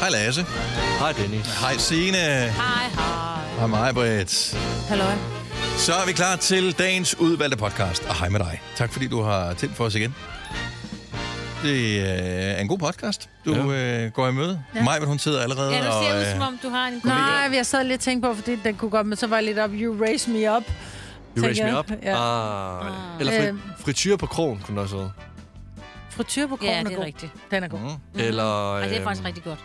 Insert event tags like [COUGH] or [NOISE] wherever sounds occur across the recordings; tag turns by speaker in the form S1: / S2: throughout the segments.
S1: Hej Lasse.
S2: Hej Dennis.
S1: Hej Signe.
S3: Hej, hej.
S1: Hej mig, Britt.
S3: Halløj.
S1: Så er vi klar til dagens udvalgte podcast. Og hej med dig. Tak fordi du har tændt for os igen. Det øh, er en god podcast. Du ja. øh, går i møde. Ja.
S3: Ja.
S1: Maj, hun sidder allerede.
S3: Ja, du ser
S1: og,
S3: ud
S1: øh,
S3: som om, du har en
S4: Nej, jeg sad lidt og tænkte på, fordi den kunne godt, men så var jeg lidt op, you raise me up.
S2: You raise
S4: tænker
S2: me
S4: jeg.
S2: up.
S4: Ja.
S2: Ah. Eller fri,
S4: Øhm.
S2: frityr på krogen kunne det også hedde.
S4: Frityr på krogen
S3: Ja, det
S4: er
S3: er
S4: god.
S3: rigtigt.
S4: Den er god.
S1: Mm.
S2: Mm-hmm. Eller...
S3: Og det er faktisk
S2: øhm,
S3: rigtig godt.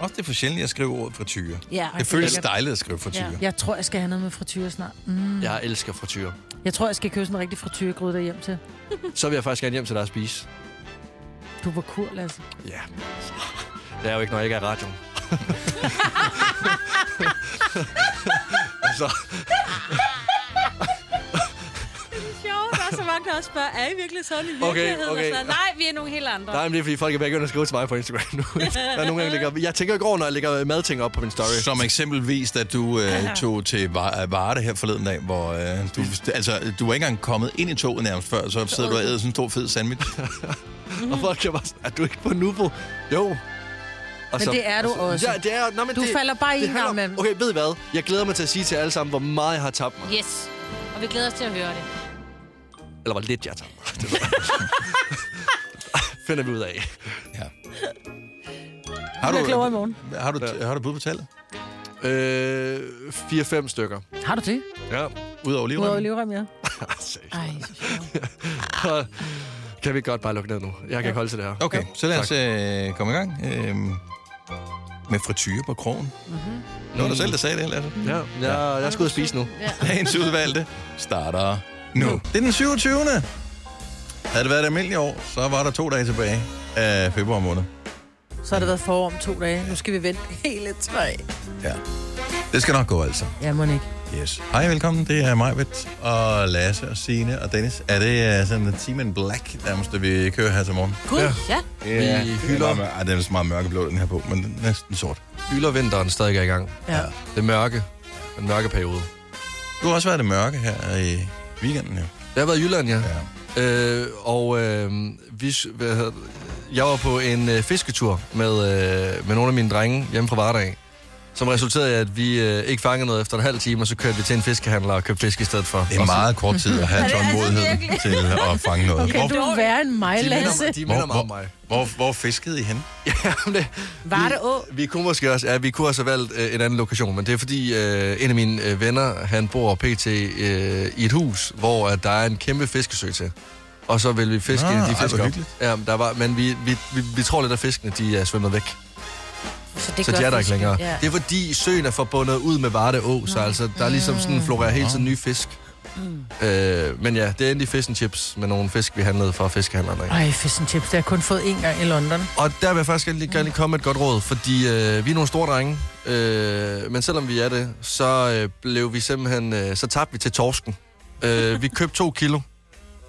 S1: Også det er for sjældent, jeg skriver ordet frityre.
S3: Ja.
S1: Det føles dejligt at skrive frityre. Ja.
S3: Ja.
S4: Jeg tror, jeg skal have noget med frityr snart. Mm.
S2: Jeg elsker frityr.
S4: Jeg tror, jeg skal købe sådan en rigtig frityrgryde derhjem til.
S2: Så vil jeg faktisk gerne hjem til dig og spise.
S4: Du var kur,
S2: [LAUGHS]
S4: Lasse.
S2: Ja. Det er jo ikke, når jeg ikke er i
S4: [LAUGHS]
S2: radioen. altså,
S3: sjovt. Der er så mange, der også spørger, er I virkelig sådan i
S2: virkeligheden? okay. Og sådan,
S3: Nej, vi er nogle helt andre.
S2: nej, men det er, fordi folk er begyndt at skrive til mig på Instagram nu. Der er nogle gange, jeg, lægger, jeg tænker ikke over, når jeg lægger madting op på min story.
S1: Som eksempelvis, da du øh, tog til Va- Varde her forleden dag, hvor øh, du, altså, du var ikke engang kommet ind i toget nærmest før, så sidder du og æder sådan en stor fed sandwich.
S2: Og folk er bare sådan, er du ikke på Nubo? Jo. Og Altså,
S4: Men det er du også.
S2: Ja, det er, nej, men
S4: Du
S2: det,
S4: falder bare i
S2: det
S4: en
S2: handler
S4: gang
S2: om-
S4: imellem.
S2: Okay, ved I hvad? Jeg glæder mig til at sige til alle sammen, hvor meget jeg har tabt mig.
S3: Yes. Og vi glæder os til at høre det.
S2: Eller hvor lidt
S1: [LAUGHS]
S2: jeg har tabt mig. Det ved jeg. finder vi ud af.
S1: Ja. Har
S4: bliver klogere i morgen.
S1: Har du, har du bud på tallet?
S2: Øh, 4-5 stykker.
S4: Har du det?
S2: Ja.
S1: Udover livrem?
S4: Udover livrem,
S2: [LAUGHS]
S4: ja.
S3: Ej, så sjovt.
S2: kan vi godt bare lukke ned nu? Jeg kan ikke holde til det her.
S1: Okay, så lad os
S2: Tak.
S1: øh, komme i gang øh, med frityre på krogen. Mm-hmm. Det var dig selv, der sagde det, Lasse.
S2: Ja, jeg, jeg skal ud og spise nu.
S3: Ja.
S1: Dagens udvalgte starter nu. Det er den 27. Havde det været et almindeligt år, så var der to dage tilbage af februar måned.
S4: Så har det været forår om to dage. Nu skal vi vente hele tre.
S1: Ja. Det skal nok gå altså.
S4: Ja, må ikke.
S1: Yes. Hej, velkommen. Det er mig, Britt, og Lasse og Signe og Dennis. Er det uh, sådan en Team in Black, nærmest, det vi kører her til morgen?
S3: Gud,
S2: Ja.
S3: ja.
S2: Ja, Vi hylder.
S1: Ej, den er så meget mørkeblå, den her på, men den er næsten
S4: [LAUGHS]
S1: sort.
S2: Hylder vinteren stadig er i gang.
S4: Ja.
S2: Det mørke. Den mørke periode.
S1: Du har også været i det mørke her i weekenden, jo.
S2: Jeg har været i Jylland, ja.
S1: Ja.
S2: Øh, og øh, vi, s- hvad hedder, det? jeg var på en øh, fisketur med, øh, med nogle af mine drenge hjemme fra Vardag, som resulterede i, at vi øh, ikke fangede noget efter en halv time, og så kørte vi til en fiskehandler og købte fisk i stedet for.
S1: Det er
S2: Og så-
S1: meget kort tid
S3: [LAUGHS]
S1: at have
S3: det er altså
S1: tålmodighed
S3: virkelig.
S1: til at fange noget.
S4: Okay,
S1: hvor,
S4: du er værre end mig,
S2: De minder,
S4: Lasse.
S2: mig- de
S1: hvor,
S2: minder meget om
S1: hvor,
S2: mig.
S1: hvor, hvor fiskede I hen?
S2: [LAUGHS] Jamen, det,
S3: Var det å?
S2: Vi kunne måske også, ja, vi kunne også have valgt øh, en anden lokation, men det er fordi øh, en af mine øh, venner, han bor pt. Øh, i et hus, hvor at der er en kæmpe fiskesø til. Og så vil vi fiske
S1: Nå,
S2: ah, de
S1: ej,
S2: fisk
S1: hvor
S2: op.
S1: hyggeligt.
S2: Ja, men der var, men vi, vi, vi, vi tror lidt, at fiskene de er svømmet væk,
S3: det
S2: så de er der ikke længere.
S3: Ja.
S2: Ja. Det er fordi søen er forbundet ud med Varde Å, så altså, der er ligesom sådan florerer hele tiden nye fisk. Mm. Øh, men ja, det endte i fish and chips med nogle fisk, vi handlede fra fiskehandlerne. af.
S4: Ej, fish and chips, det har jeg kun fået én gang i London.
S2: Og der vil jeg faktisk gerne lige, gerne lige komme med et godt råd, fordi øh, vi er nogle store drenge, øh, men selvom vi er det, så øh, blev vi simpelthen, øh, så tabte vi til torsken. Øh, vi købte to kilo,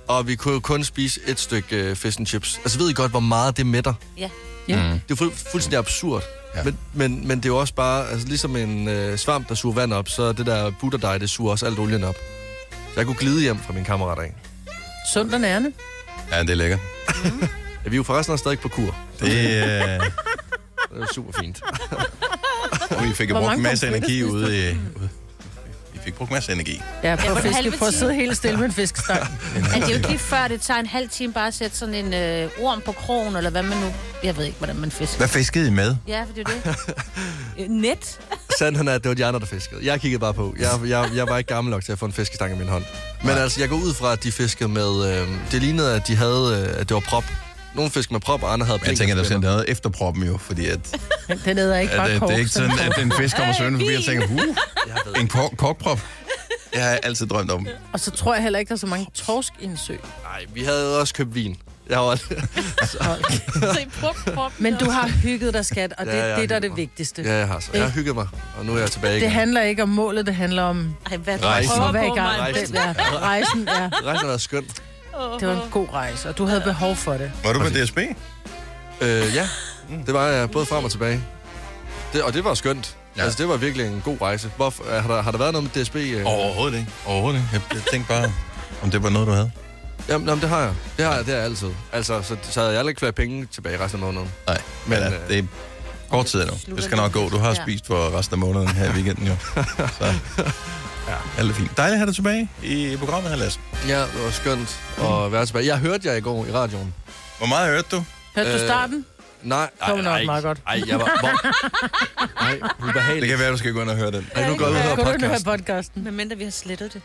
S2: og vi kunne jo kun spise et stykke øh, fish and chips. Altså ved I godt, hvor meget det mætter?
S3: Ja.
S4: Ja.
S1: Mm.
S2: Det er fu- fuldstændig absurd.
S1: Ja.
S2: Ja. Men, men, men det er jo også bare, altså ligesom en øh, svamp, der suger vand op, så det der butterdej, det suger også alt olien op. Så jeg kunne glide hjem fra min kammerat af.
S4: Sundt og nærende.
S1: Ja, det er lækkert.
S2: Ja, [LAUGHS] vi er jo forresten stadig på kur.
S1: Mm. Det, øh,
S2: Det er super fint.
S1: og vi fik jo
S4: Hvor
S1: brugt en
S4: mange
S1: masse
S4: pomfritter
S1: energi
S4: spiste
S1: ude i... Ude. Vi fik brugt en masse energi.
S4: Ja, på
S3: Ja,
S4: ja,
S3: for
S4: fiske,
S3: helvede
S4: for at sidde
S3: tid.
S4: helt stille med en
S3: [LAUGHS]
S4: fiskestang.
S3: Er det jo ikke lige før, det tager en halv time bare at sætte sådan en øh, orm på krogen, eller hvad man nu... Jeg ved ikke, hvordan man fisker.
S1: Hvad fiskede I med?
S3: Ja, for det er jo det.
S1: [LAUGHS]
S3: Øh, Net.
S2: Sandheden er, at det var de andre, der fiskede. Jeg kiggede bare på. Jeg, jeg, jeg var ikke gammel nok til at få en fiskestang i min hånd. Men
S1: Nej.
S2: altså, jeg går ud fra, at de fiskede med... Øh, det lignede, at de havde, øh, at det var prop. Nogle fiskede med prop, og andre havde
S1: Men jeg tænker, der er sådan noget [LAUGHS] efter proppen jo, fordi at,
S4: Men Den æder ikke
S1: at,
S4: bare
S1: at det er ikke
S4: korps.
S1: sådan, at en fisk kommer svømmende forbi og
S3: Hey,
S1: tænker, uh, en kok- kokprop. Jeg har altid drømt om.
S4: [LAUGHS] Og så tror jeg heller ikke, der er så mange torsk
S3: [LAUGHS]
S4: i en sø.
S2: Nej, vi havde også købt vin. Jeg var...
S3: Så I prop, prop.
S4: Men du har hygget dig, skat, og det
S2: Ja, jeg
S4: er
S2: har
S4: det, der er
S2: hygget
S4: det
S2: mig.
S4: vigtigste.
S2: ja, jeg har så. Jeg har hygget mig, og nu er jeg tilbage
S4: Det
S2: igen.
S4: handler ikke om målet, det handler om
S3: Ej, hvad
S1: Rejsen.
S4: at
S3: prøver
S4: være
S3: på
S4: i gang.
S3: mig?
S2: Rejsen.
S4: Den, ja. Rejsen, ja.
S2: Rejsen har været skøn.
S4: Det var en god rejse, og du havde behov for det.
S1: Var du på DSB?
S2: Altså- Øh, ja, det var jeg både frem og tilbage. Det, og det var skønt.
S1: Ja.
S2: Ja. Altså, det var virkelig en god rejse. Hvorfor, har, der, har der været noget med DSB? Øh?
S1: Overhovedet ikke. Overhovedet ikke. Jeg, jeg tænkte bare, om det var noget, du havde.
S2: Jamen, jamen, det har jeg. Det har jeg, det har jeg altid. Altså, så, så havde jeg aldrig flere penge tilbage resten af måneden.
S1: Nej, men
S2: Men,
S1: ja,
S2: øh,
S1: det er kort tid endnu. Det skal nok gå. Du har
S3: Ja.
S1: spist for resten af måneden her i weekenden jo. Så ja. alt er fint. Dejligt at have dig tilbage i programmet her, Lasse.
S2: Ja, det var skønt at være tilbage. Jeg hørte jer i går i radioen.
S1: Hvor meget hørte du?
S3: Hørte du
S2: Øh,
S3: starten?
S2: Nej,
S4: Det var nok meget godt.
S2: Ej, jeg var... Hvor...
S4: [LAUGHS]
S2: Nej, ubehageligt.
S1: Det kan være, du skal gå ind og høre den.
S2: Ej, nu går jeg ud
S4: Gå
S2: af
S4: du nu her
S2: podcasten.
S4: podcasten?
S3: Med mindre vi har slettet det.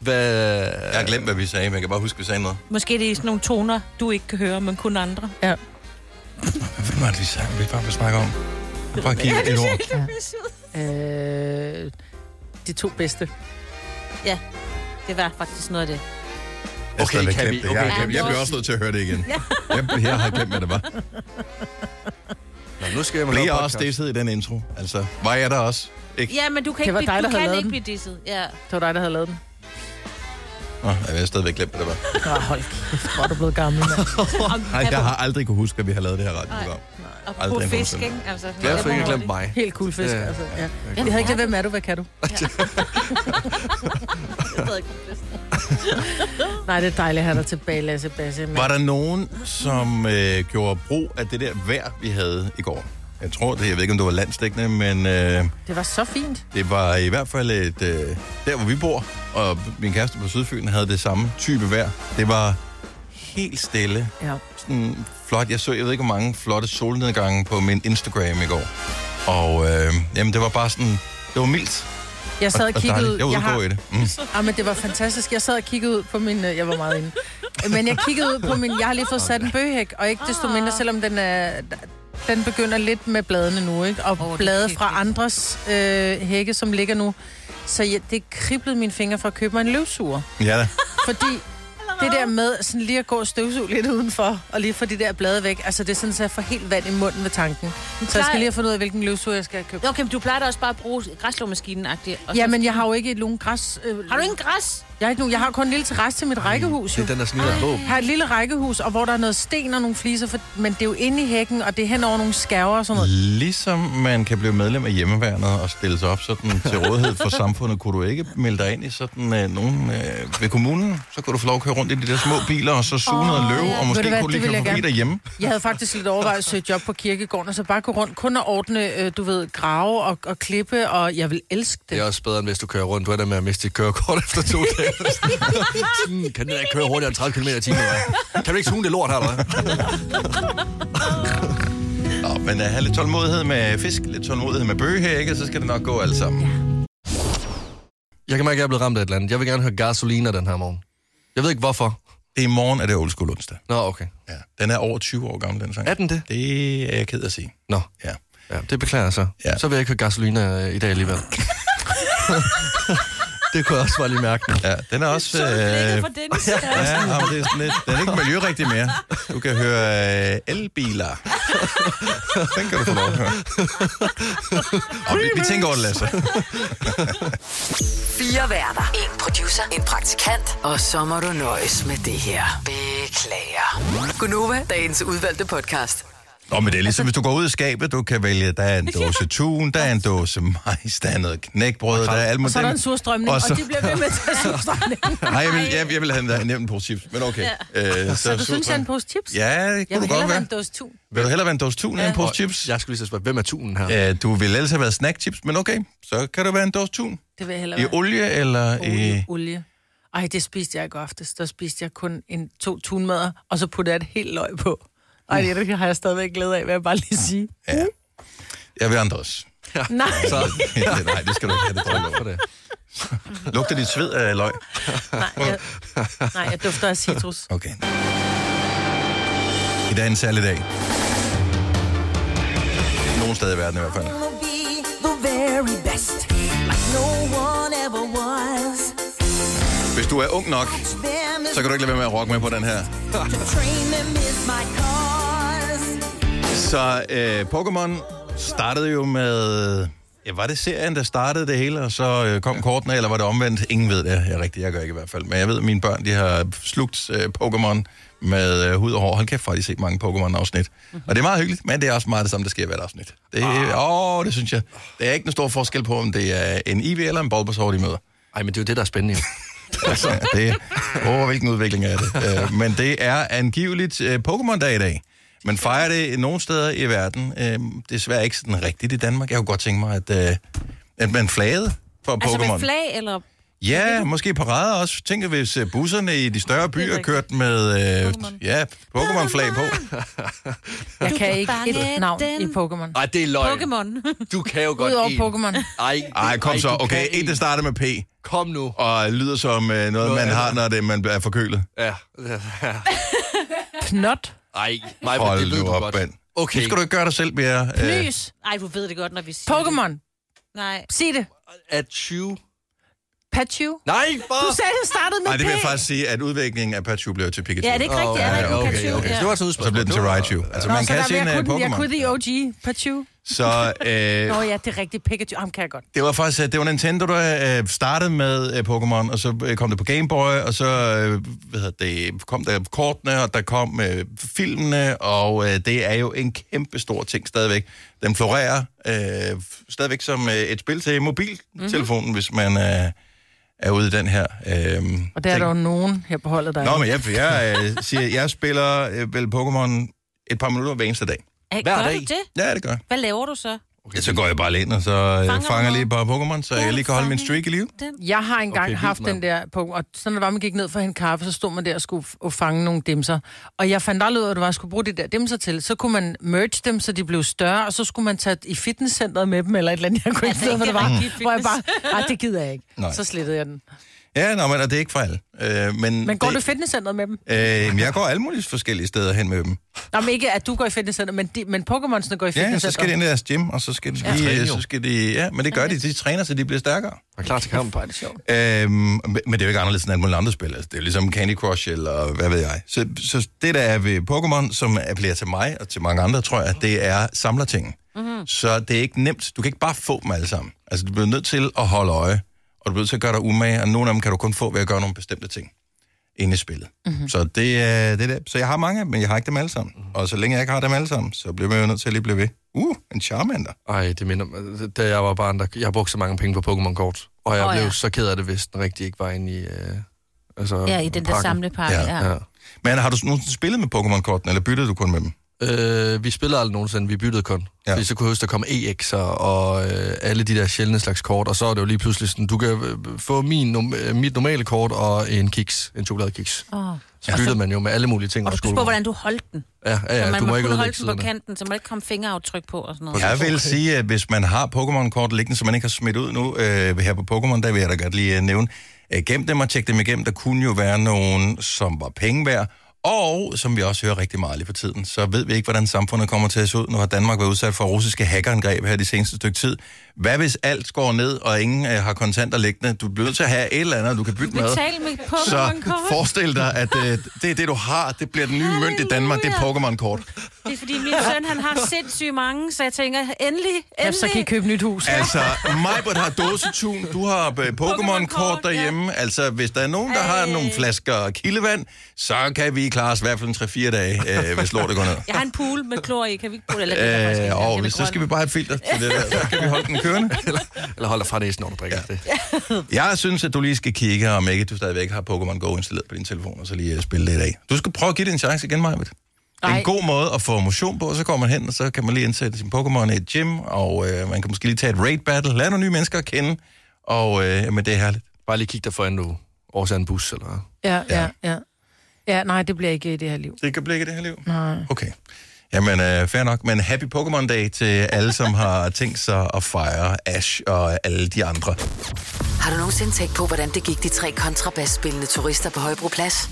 S2: Hvad...
S1: Jeg har glemt, hvad vi sagde, men jeg kan bare huske, vi sagde noget.
S3: Måske det er sådan nogle toner, du ikke kan høre, men kun andre.
S1: Hvad var det, vi sagde? Vi bare vil snakke om. Bare give et ord.
S4: Øh, de to bedste.
S3: Det var faktisk noget af det.
S1: Jeg har
S2: Okay,
S1: stadigvæk
S2: kan
S1: glemt
S2: vi-
S1: det. Jeg, har
S2: okay,
S1: glemt-
S3: kan
S1: jeg
S3: vi-
S1: bliver også nødt til at høre det igen. Jeg, jeg har glemt, hvad det var.
S2: Nå, nu skal jeg med
S1: Bliver også disset i den intro. Altså, var jeg der også? Ikke?
S3: Ja, men du kan
S4: Det
S3: ikke,
S4: var
S3: blive,
S4: dig,
S3: du
S4: der havde
S3: kan
S4: lavet
S3: ikke
S4: den.
S3: blive disset. Ja.
S4: Det var dig, der havde lavet den.
S1: Nå, jeg har stadigvæk glemt, hvad det var.
S4: Nå, hold kæft, hvor er du blevet gammel, mand.
S1: Nej, jeg har aldrig kunne huske, at vi har lavet det her radioprogram.
S3: Og
S1: aldrig
S3: på
S1: nogensinde.
S3: fisk, ikke? Altså,
S2: Glad for, at I ikke har
S3: det.
S2: glemt mig.
S4: Helt cool fisk,
S2: Ja,
S4: altså. Ja.
S3: Ja,
S4: Jeg havde ikke glemt, hvem er du, hvad kan du?
S3: Jeg ved ikke, om det er sådan.
S4: Nej, det er dejligt at have dig tilbage, Lasse Basse. Men...
S1: Var der nogen, som øh, gjorde brug af det der vejr, vi havde i går? Jeg tror det. Jeg ved ikke, om det var landstækkende, men øh,
S4: Det var så fint.
S1: det var i hvert fald et, øh, der, hvor vi bor. Og min kæreste på Sydfyn havde det samme type vejr. Det var helt stille.
S4: Ja.
S1: Sådan flot. Jeg så, jeg ved ikke, hvor mange flotte solnedgange på min Instagram i går. Og øh, jamen, det var bare sådan... Det var mildt
S4: Jeg sad
S1: og,
S4: og
S1: og
S4: kiggede ud.
S1: dejligt. Jeg var ude at
S4: Jeg
S1: gå i
S4: har...
S1: det. Mm.
S4: ah, men det var fantastisk. Jeg sad og kiggede ud på min... øh, Jeg var meget inde. Men jeg kiggede ud på min... Jeg har lige fået sat en bøgehæk, og ikke desto mindre, selvom den er... Den begynder lidt med bladene nu, ikke? Og
S3: Åh, det er
S4: oh, blade
S3: hyggeligt.
S4: fra andres øh, hække, som ligger nu. Så jeg, det kriblede mine fingre fra at købe mig en løvsuger.
S1: Ja da.
S4: Fordi det der med sådan lige at gå og støvsuge lidt udenfor, og lige få de der blade væk, altså det er sådan, så jeg får helt vand i munden ved tanken. Så jeg
S3: plejer-
S4: skal lige have fundet ud af, hvilken løvsuger jeg skal købe.
S3: Okay, men du plejer da også bare at bruge græslåmaskinen agtigt
S4: Ja, men jeg har jo ikke et nogen græs... Øh,
S3: Har du ingen græs?
S4: Jeg har, ikke nogen, jeg har kun en lille terrasse til mit rækkehus, jo.
S2: Det er den, der sniger en bog.
S4: Jeg har et lille rækkehus, og hvor der er noget sten og nogle fliser, for, men det er jo inde i hækken, og det er hen over nogle skærver og sådan noget.
S1: Ligesom man kan blive medlem af hjemmeværnet og stille sig op sådan
S4: [LAUGHS]
S1: til rådighed for samfundet, kunne du ikke melde dig ind i sådan øh, nogen øh, ved kommunen? Så kunne du få lov at køre rundt i de der små biler, og så suge oh, noget løv, og
S4: Ved du
S1: måske
S4: hvad,
S1: kunne du
S4: det
S1: lige
S4: vil
S1: køre
S4: jeg
S1: forbi
S4: gerne.
S1: derhjemme.
S4: Jeg havde faktisk lidt overvejet at søge job på kirkegården, og så bare gå rundt kun at ordne, øh, du ved, grave og, og klippe, og jeg vil elske det.
S2: Det er også bedre, end hvis du kører rundt. Du er der med at miste dit kørekort [LAUGHS] efter to dage. Sådan, kan den der køre hurtigere end 30 km i timen? eller? Kan du ikke suge det lort her, eller hvad?
S1: [LAUGHS] Nå, men uh, have lidt tålmodighed med fisk, lidt tålmodighed med bøgehække, så skal det nok gå alt sammen.
S2: Jeg kan mærke, at jeg er blevet ramt af et eller andet. Jeg vil gerne høre gasolina den her morgen. Jeg ved ikke, hvorfor.
S1: Det er i morgen, er det Old School onsdag.
S2: Nå, okay.
S1: Ja. Den er over 20 år gammel, den sang.
S2: Er den det?
S1: Det er jeg ked af at sige.
S2: Nå,
S1: Ja.
S2: ja, det beklager jeg så.
S1: Ja.
S2: Ja. Så vil jeg ikke høre gasolina øh, i
S1: [LAUGHS]
S2: dag alligevel. [LAUGHS] det kunne jeg også bare lige mærke. nu.
S1: ja den er også... øh,
S3: for
S1: [LAUGHS]
S3: Dennis.
S1: Ja, ja, men det er sådan lidt, den er ikke miljørigtig mere. Du kan høre øh, elbiler.
S4: [LAUGHS]
S1: Den kan du få lov at høre. Og vi, vi tænker over det, Lasse.
S5: Fire værter. En producer. En praktikant. Og så må du nøjes med det her. Beklager. Gunova, dagens udvalgte podcast.
S1: Nå, men det er ligesom, hvis du går ud i skabet, du kan vælge, der er en dåse tun, der er en dåse majs, der er noget knækbrød, der er alt
S4: Og
S1: muligt.
S4: så er der en surstrømning,
S1: og
S4: og,
S1: så-
S4: og de bliver ved med at tage surstrømning.
S1: [LAUGHS] Nej, jeg vil, jeg, jeg vil have en- nævnt en pose chips, men okay. Ja. Øh,
S4: Så du synes, jeg er en pose chips?
S1: Ja, det
S4: Jeg
S1: kunne du
S4: vil
S1: godt
S4: hellere have
S1: være.
S4: en dåse tun.
S1: Vil du hellere være en dåse tun end en pose chips?
S2: Jeg skulle lige så spørge, hvem er tunen her?
S1: Ja. Du ville ellers have været snackchips, men okay, så kan du være en dåse tun.
S4: Det vil jeg hellere
S1: I
S4: være.
S1: olie eller i...
S4: olie, olie. Ej, det spiste jeg i går aftes. Der spiste jeg kun en, to tunmadder, og så puttede jeg et helt løg på. Ej, det, er det har jeg stadigvæk glæde af, vil jeg bare lige sige. Uh,
S1: Jeg vil andre også. [LAUGHS]
S4: Nej,
S2: Så, [LAUGHS]
S1: Nej, det skal du ikke have det dårligt
S2: for det.
S1: over. [LAUGHS] Lugter dit sved af løg?
S4: nej, jeg, [LAUGHS] nej, jeg dufter af citrus.
S1: Okay. I dag er en særlig dag. Nogle steder i verden i hvert fald.
S6: gonna be the very best, like no one ever was.
S1: Hvis du er ung nok,
S6: Them is
S1: så kan du ikke lade være med at rocke med på den her.
S6: to train them is my cause.
S1: Så øh, Pokémon startede jo med... Ja, var det serien, der startede det hele, og så øh, kom kortene, eller var det omvendt? Ingen ved det. Jeg rigtigt, jeg gør ikke i hvert fald. Men jeg ved, at mine børn de har slugt øh, Pokémon med øh, hud og hår. Hold kæft, for de set mange Pokémon-afsnit. Og det er meget hyggeligt, men det er også meget det samme, der sker i hvert afsnit. Det,
S2: Ah.
S1: Åh, det synes jeg. Der er ikke en stor forskel på, om det er en Eevee eller en Bulbasaur, de møder. [LAUGHS]
S2: Ej, men det er jo det, der er spændende. jo.
S1: Altså, det, åh, hvilken udvikling er det. Øh, men det er angiveligt øh, Pokémon-dag i dag. Man fejrer det nogle steder i verden. Øh, desværre ikke sådan rigtigt i Danmark. Jeg kunne godt tænke mig, at, øh, at man flagede for
S3: Altså
S1: Pokémon.
S3: med flag, eller...
S1: Ja, måske parader også. Tænker, hvis øh, busserne i de større byer kørte med øh, ja, Pokémon-flag på.
S4: Jeg kan ikke
S3: fange
S4: et navn
S3: den.
S4: i Pokémon.
S2: Ej, det er løgn.
S3: Pokémon.
S2: Du kan jo godt
S4: Udover
S2: en.
S4: Pokémon.
S2: Ej,
S1: Ej, kom
S2: du
S1: så. Okay,
S2: kan
S1: en,
S2: en.
S1: der starter med P,
S2: Kom nu.
S1: og lyder som øh, noget, man har, når det, man er forkølet.
S2: Ja.
S4: Knot.
S2: Ej, mig,
S1: Hold
S2: det ved
S1: nu
S2: du
S1: op,
S2: godt.
S1: mand.
S2: Okay.
S1: Nu skal du ikke gøre dig selv mere... Øh,
S4: Lys.
S3: Ej, du ved det godt, når vi siger det.
S4: Pokémon.
S3: Nej.
S4: Sig det.
S2: Er 20...
S4: Pachu.
S2: Nej, for...
S4: Du sagde, det startede med
S1: nej, det
S4: P.
S1: vil jeg faktisk sige, at udviklingen af Pikachu blev til Pikachu.
S3: Ja, det er ikke rigtigt. Er der
S2: Ja,
S3: ikke
S2: okay,
S3: en
S2: okay.
S3: Pikachu?
S2: okay. Så
S3: Ja.
S2: det var sådan et
S1: Og så blev den til Raichu. Altså,
S4: Nå,
S1: man
S4: så
S1: kan
S4: der-
S1: se en
S4: jeg,
S1: øh,
S4: kunne, jeg kunne
S1: Pokémon.
S4: the OG Pachu.
S1: Så øh,
S4: Nå ja, det er rigtigt. Pikachu. Ham kan jeg godt.
S1: det var faktisk øh, det var Nintendo, der øh, startede med øh, Pokémon, og så øh, kom det på Game Boy, og så øh, hvad hedder det, kom der kortene, og der kom øh, filmene, og øh, det er jo en kæmpe stor ting stadigvæk. Den florerer øh, stadigvæk som øh, et spil til mobiltelefonen, mm-hmm. hvis man øh, er ude i den her. Øh,
S4: Mhm. Og der er der jo nogen her på holdet, der
S1: Nå,
S4: er.
S1: men jeg, jeg øh, siger, jeg spiller øh, vel Pokémon et par minutter hver eneste dag.
S3: Ej,
S2: Hver
S3: gør
S2: dag.
S3: du det?
S1: Ja, det gør jeg.
S3: Hvad laver du så?
S1: Okay, så går jeg bare lige ind, og så øh,
S3: Fanger du
S1: fanger, fanger lige
S3: noget?
S1: et par Pokémon, så jeg lige kan holde min streak i live.
S4: Jeg har engang
S2: Okay,
S4: okay,
S2: vildt,
S4: haft den
S2: mand.
S4: der på, og sådan det var, man gik ned for at hente kaffe, så stod man der og skulle f- og fange nogle dimser. Og jeg fandt aldrig ud af, hvad det var, jeg skulle bruge de der dimser til. Så kunne man merge dem, så de blev større, og så skulle man tage i fitnesscenteret med dem, eller et eller andet, jeg kunne ikke
S3: Altså,
S4: se,
S3: ikke
S4: hvad det var.
S3: rigtig
S4: Hvor jeg bare,
S3: fitness.
S4: nej, det gider jeg ikke.
S1: Nej.
S4: Nej. Så slettede jeg den.
S1: Ja, nå, men og det er ikke for alle. Øh, men
S4: Men går du i
S1: det,
S4: fitnesscenteret med dem?
S1: øh, jeg går alle mulige forskellige steder hen med dem.
S4: Nå, men ikke, at du går i fitnesscenteret, men, de, men Pokémon'sene går i
S1: Ja, så skal de
S4: fitnesscenteret.
S1: ind i deres gym, og så skal de,
S2: de
S1: ja.
S2: træne, jo.
S1: så skal de ja, men det gør de, de træner, så de bliver stærkere.
S2: Er klar til kamp.
S4: det sjovt.
S1: Øhm, men men det er jo ikke anderledes end alle mulige andre spil. Altså, det er jo ligesom Candy Crush eller hvad ved jeg. Så, så det, der er ved Pokémon, som appellerer til mig og til mange andre, tror jeg, det er samlertingen. Mm-hmm. Så det er ikke nemt. Du kan ikke bare få dem alle sammen. Altså, du bliver nødt til at holde øje, og du bliver nødt til at gøre dig umage, og nogle af dem kan du kun få ved at gøre nogle bestemte ting inde i spillet. Mm-hmm. Så det er det er det. Så jeg har mange, men jeg har ikke dem alle sammen. Og så længe jeg ikke har dem alle sammen, så bliver man jo nødt til at lige blive ved. Uh, en Charmander.
S2: Ej, det minder mig. Da jeg var barn, der, jeg brugte så mange penge på Pokémon-kort. Og jeg
S3: Åh,
S2: oh, blev
S3: ja.
S2: ja. så ked af det, hvis den rigtig ikke var inde i... Øh, altså,
S3: Ja, i den der
S2: pakken.
S3: samlepakke.
S1: Ja.
S3: Ja. ja.
S2: Ja.
S1: Men har du nogensinde spillet med Pokémon-kortene, eller byttede du kun med dem?
S2: Øh, vi spillede aldrig nogensinde, vi byttede kun.
S1: Ja.
S2: Ja. Fordi så kunne jeg huske, der kom EX'er og øh, alle de der sjældne slags kort, og så er det jo lige pludselig sådan, du kan øh, få min, nom- øh, mit normale kort og en kiks, en chokoladekiks.
S3: Åh.
S2: Så byttede man jo med alle mulige ting.
S3: Og du skulle spørge, hvordan du holdt den.
S2: Ja, ja,
S3: så
S2: ja
S3: man
S2: du må, ikke
S3: kunne
S2: ødelægge
S3: holde den
S2: siderne.
S3: på kanten, så må der ikke komme fingeraftryk på og sådan noget.
S1: Jeg vil sige, at hvis man har Pokémon-kort liggende, som man ikke har smidt ud nu øh, her på Pokémon, der vil jeg da godt lige øh, nævne, øh, gem dem og tjek dem igennem. Der kunne jo være nogen, som var penge værd, og som vi også hører rigtig meget lige for tiden, så ved vi ikke, hvordan samfundet kommer til at se ud. Nu har Danmark været udsat for russiske hackerangreb her de seneste stykke tid. Hvad hvis alt går ned, og ingen øh, har kontanter liggende? Du bliver nødt til at have et eller andet, du kan bygge med.
S3: Betal med
S1: Så
S3: Pokémon-kort.
S1: forestil dig, at øh, det er det, du har. Det bliver den nye mønt i Danmark. Det er Pokémon-kort.
S3: Det er fordi min søn, han har sindssygt mange, så jeg tænker, endelig,
S4: Ja, så kan I
S3: endelig.
S4: købe nyt hus.
S1: Altså, Majbert har dåsetun, du har øh, Pokémon-kort
S3: Pokémon-kort,
S1: derhjemme. Ja. Altså, hvis der er nogen, der har
S3: Ej.
S1: nogle flasker kildevand, så kan vi klare os i hvert fald en 3-4 dage, øh, hvis lortet går ned.
S3: Jeg har en pool med klor i, kan vi ikke bruge det? Eller, det er faktisk ikke,
S1: Øh, og
S3: den er
S1: hvis, så
S3: grøn.
S1: skal vi bare have et filter til det
S3: [LAUGHS]
S1: der, så kan vi holde den kørende.
S2: Eller hold dig fra næsen, når du drikker ja. det.
S1: [LAUGHS] Jeg synes, at du lige skal kigge, om ikke du stadigvæk har Pokémon Go installeret på din telefon, og så lige øh, spille lidt af. Du skal prøve at give det en chance igen, Majbert. Det er en
S4: Nej.
S1: god måde at få motion på, og så kommer man hen, og så kan man lige indsætte sin Pokémon i et gym, og øh, man kan måske lige tage et raid battle, lad nogle nye mennesker at kende, og øh, men det er herligt.
S2: Bare lige kig dig foran du årsager en bus, eller...
S4: Ja, ja, ja. Ja, nej, det bliver ikke i det her liv.
S1: Det kan blive ikke det her liv? Nej. Okay. Jamen, øh, fair nok. Men happy Pokémon Day til alle, som har tænkt sig at fejre Ash og alle de andre.
S5: Har du nogensinde tænkt på, hvordan det gik de tre kontrabasspillende turister på Højbroplads?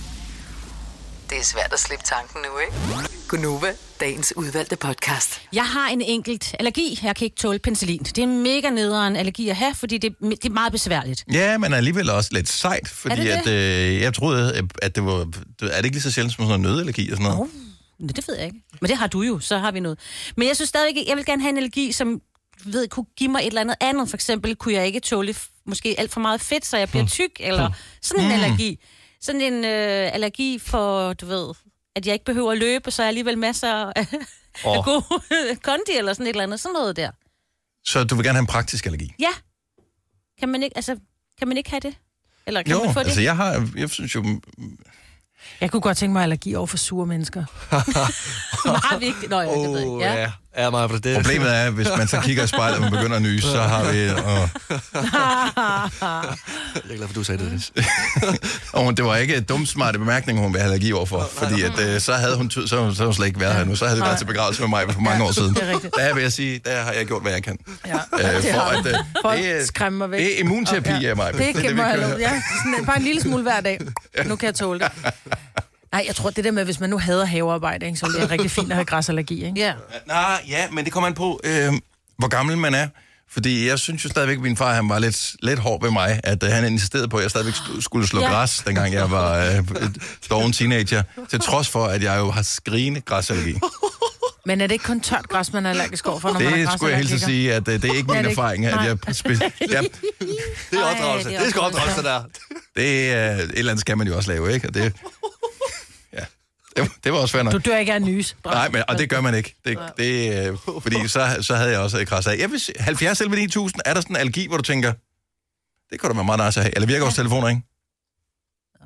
S5: Det er svært at slippe tanken nu, ikke? Gunova, dagens udvalgte podcast.
S3: Jeg har en enkelt allergi. Jeg kan ikke tåle penicillin. Det er en mega nederen allergi at have, fordi det, det er meget besværligt.
S1: Ja, men alligevel også lidt sejt, fordi
S3: Er
S1: at,
S3: det
S1: øh, jeg troede, øh, at det var... Er det ikke lige så sjældent som sådan noget nødallergi og sådan noget?
S3: Nå, det ved jeg ikke. Men det har du jo, så har vi noget. Men jeg synes stadigvæk, jeg vil gerne have en allergi, som ved, kunne give mig et eller andet andet. For eksempel kunne jeg ikke tåle f- måske alt for meget fedt, så jeg bliver tyk, eller sådan en
S2: Mm.
S3: allergi. Sådan en øh, allergi for, du ved, at jeg ikke behøver at løbe, så er jeg alligevel masser af, oh.
S2: [LAUGHS]
S3: af
S2: Åh.
S3: god [LAUGHS] kondi, eller sådan et eller andet. Sådan noget der.
S1: Så du vil gerne have en praktisk allergi?
S3: Ja. Kan man ikke, altså, kan man ikke have det? Eller kan
S1: Jo,
S3: man få det?
S1: altså jeg har, jeg synes jo,
S4: Jeg kunne godt tænke mig allergi over for sure mennesker.
S3: Meget vigtigt. Nå, ja, det ved jeg.
S2: Åh,
S3: ikke. Ja.
S2: ja. [LAUGHS] Ja, Maja, for det.
S1: problemet er, hvis man så kigger i spejlet, og man begynder at nyse, så har vi,
S2: [LAUGHS]
S1: åh,
S2: Jeg er glad for, du sagde det, Dennis.
S1: Og det var ikke et dumt smarte bemærkning, hun havde allergi overfor, fordi at, øh, så havde hun, ty- så, havde hun- så havde hun slet ikke været her nu. Så havde det været til begravelse med mig for mange år siden.
S4: det er rigtigt.
S1: Der vil jeg sige, der har jeg gjort, hvad jeg kan.
S4: Ja.
S1: Øh, for
S4: har
S1: at, øh,
S4: For
S1: det,
S4: at
S1: er,
S4: skræmme mig væk.
S1: det er immunterapi,
S4: Og-
S1: ja, Maja. [LAUGHS]
S4: Det,
S1: Det er
S4: det
S1: det,
S4: kan
S1: vi
S4: man
S1: kører.
S4: lov. Ja, sådan, bare en lille smule hver dag. Nu kan jeg tåle [LAUGHS] det. Nej, jeg tror, det der med, hvis man nu hader havearbejde, ikke, så ville det være rigtig fint at have græsallergi. Ikke?
S3: ja.
S1: Øh, nej, ja, men det kommer an på, øh, hvor gammel man er. Fordi jeg synes jo stadigvæk, at min far han var lidt, lidt hård ved mig, at øh, han insisterede på, at jeg stadigvæk sk- skulle slå ja.
S3: Ja.
S1: græs, dengang jeg var øh, et doven teenager. Til trods for, at jeg jo har skrigende græsallergi.
S4: Men er det ikke kun tørt græs, man er allergisk over for, når man
S1: Det
S4: har
S1: skulle jeg hilse at sige, at øh, det er ikke
S4: Er
S1: min
S4: det ikke?
S1: erfaring, at
S4: Nej.
S1: jeg...
S4: [LAUGHS]
S1: Spe- ja,
S2: Det er
S3: Ej,
S2: opdragelse.
S3: det
S2: Det,
S3: er
S2: det skal
S3: opdragelse.
S2: opdragelse, der.
S1: det er... Et eller andet skal man jo også lave, ikke? Og det...
S4: [LAUGHS]
S1: Ja. Det, det var også fair nok.
S4: Du dør ikke af en nys.
S1: Nej, men, og det gør man ikke. Det, det, øh, fordi så, så havde jeg også et kras af. Jeg vil, sige, 70 selv 9000, er der sådan en algi, hvor du tænker, det kunne da være meget nice at have. Eller virker vores telefoner, ikke?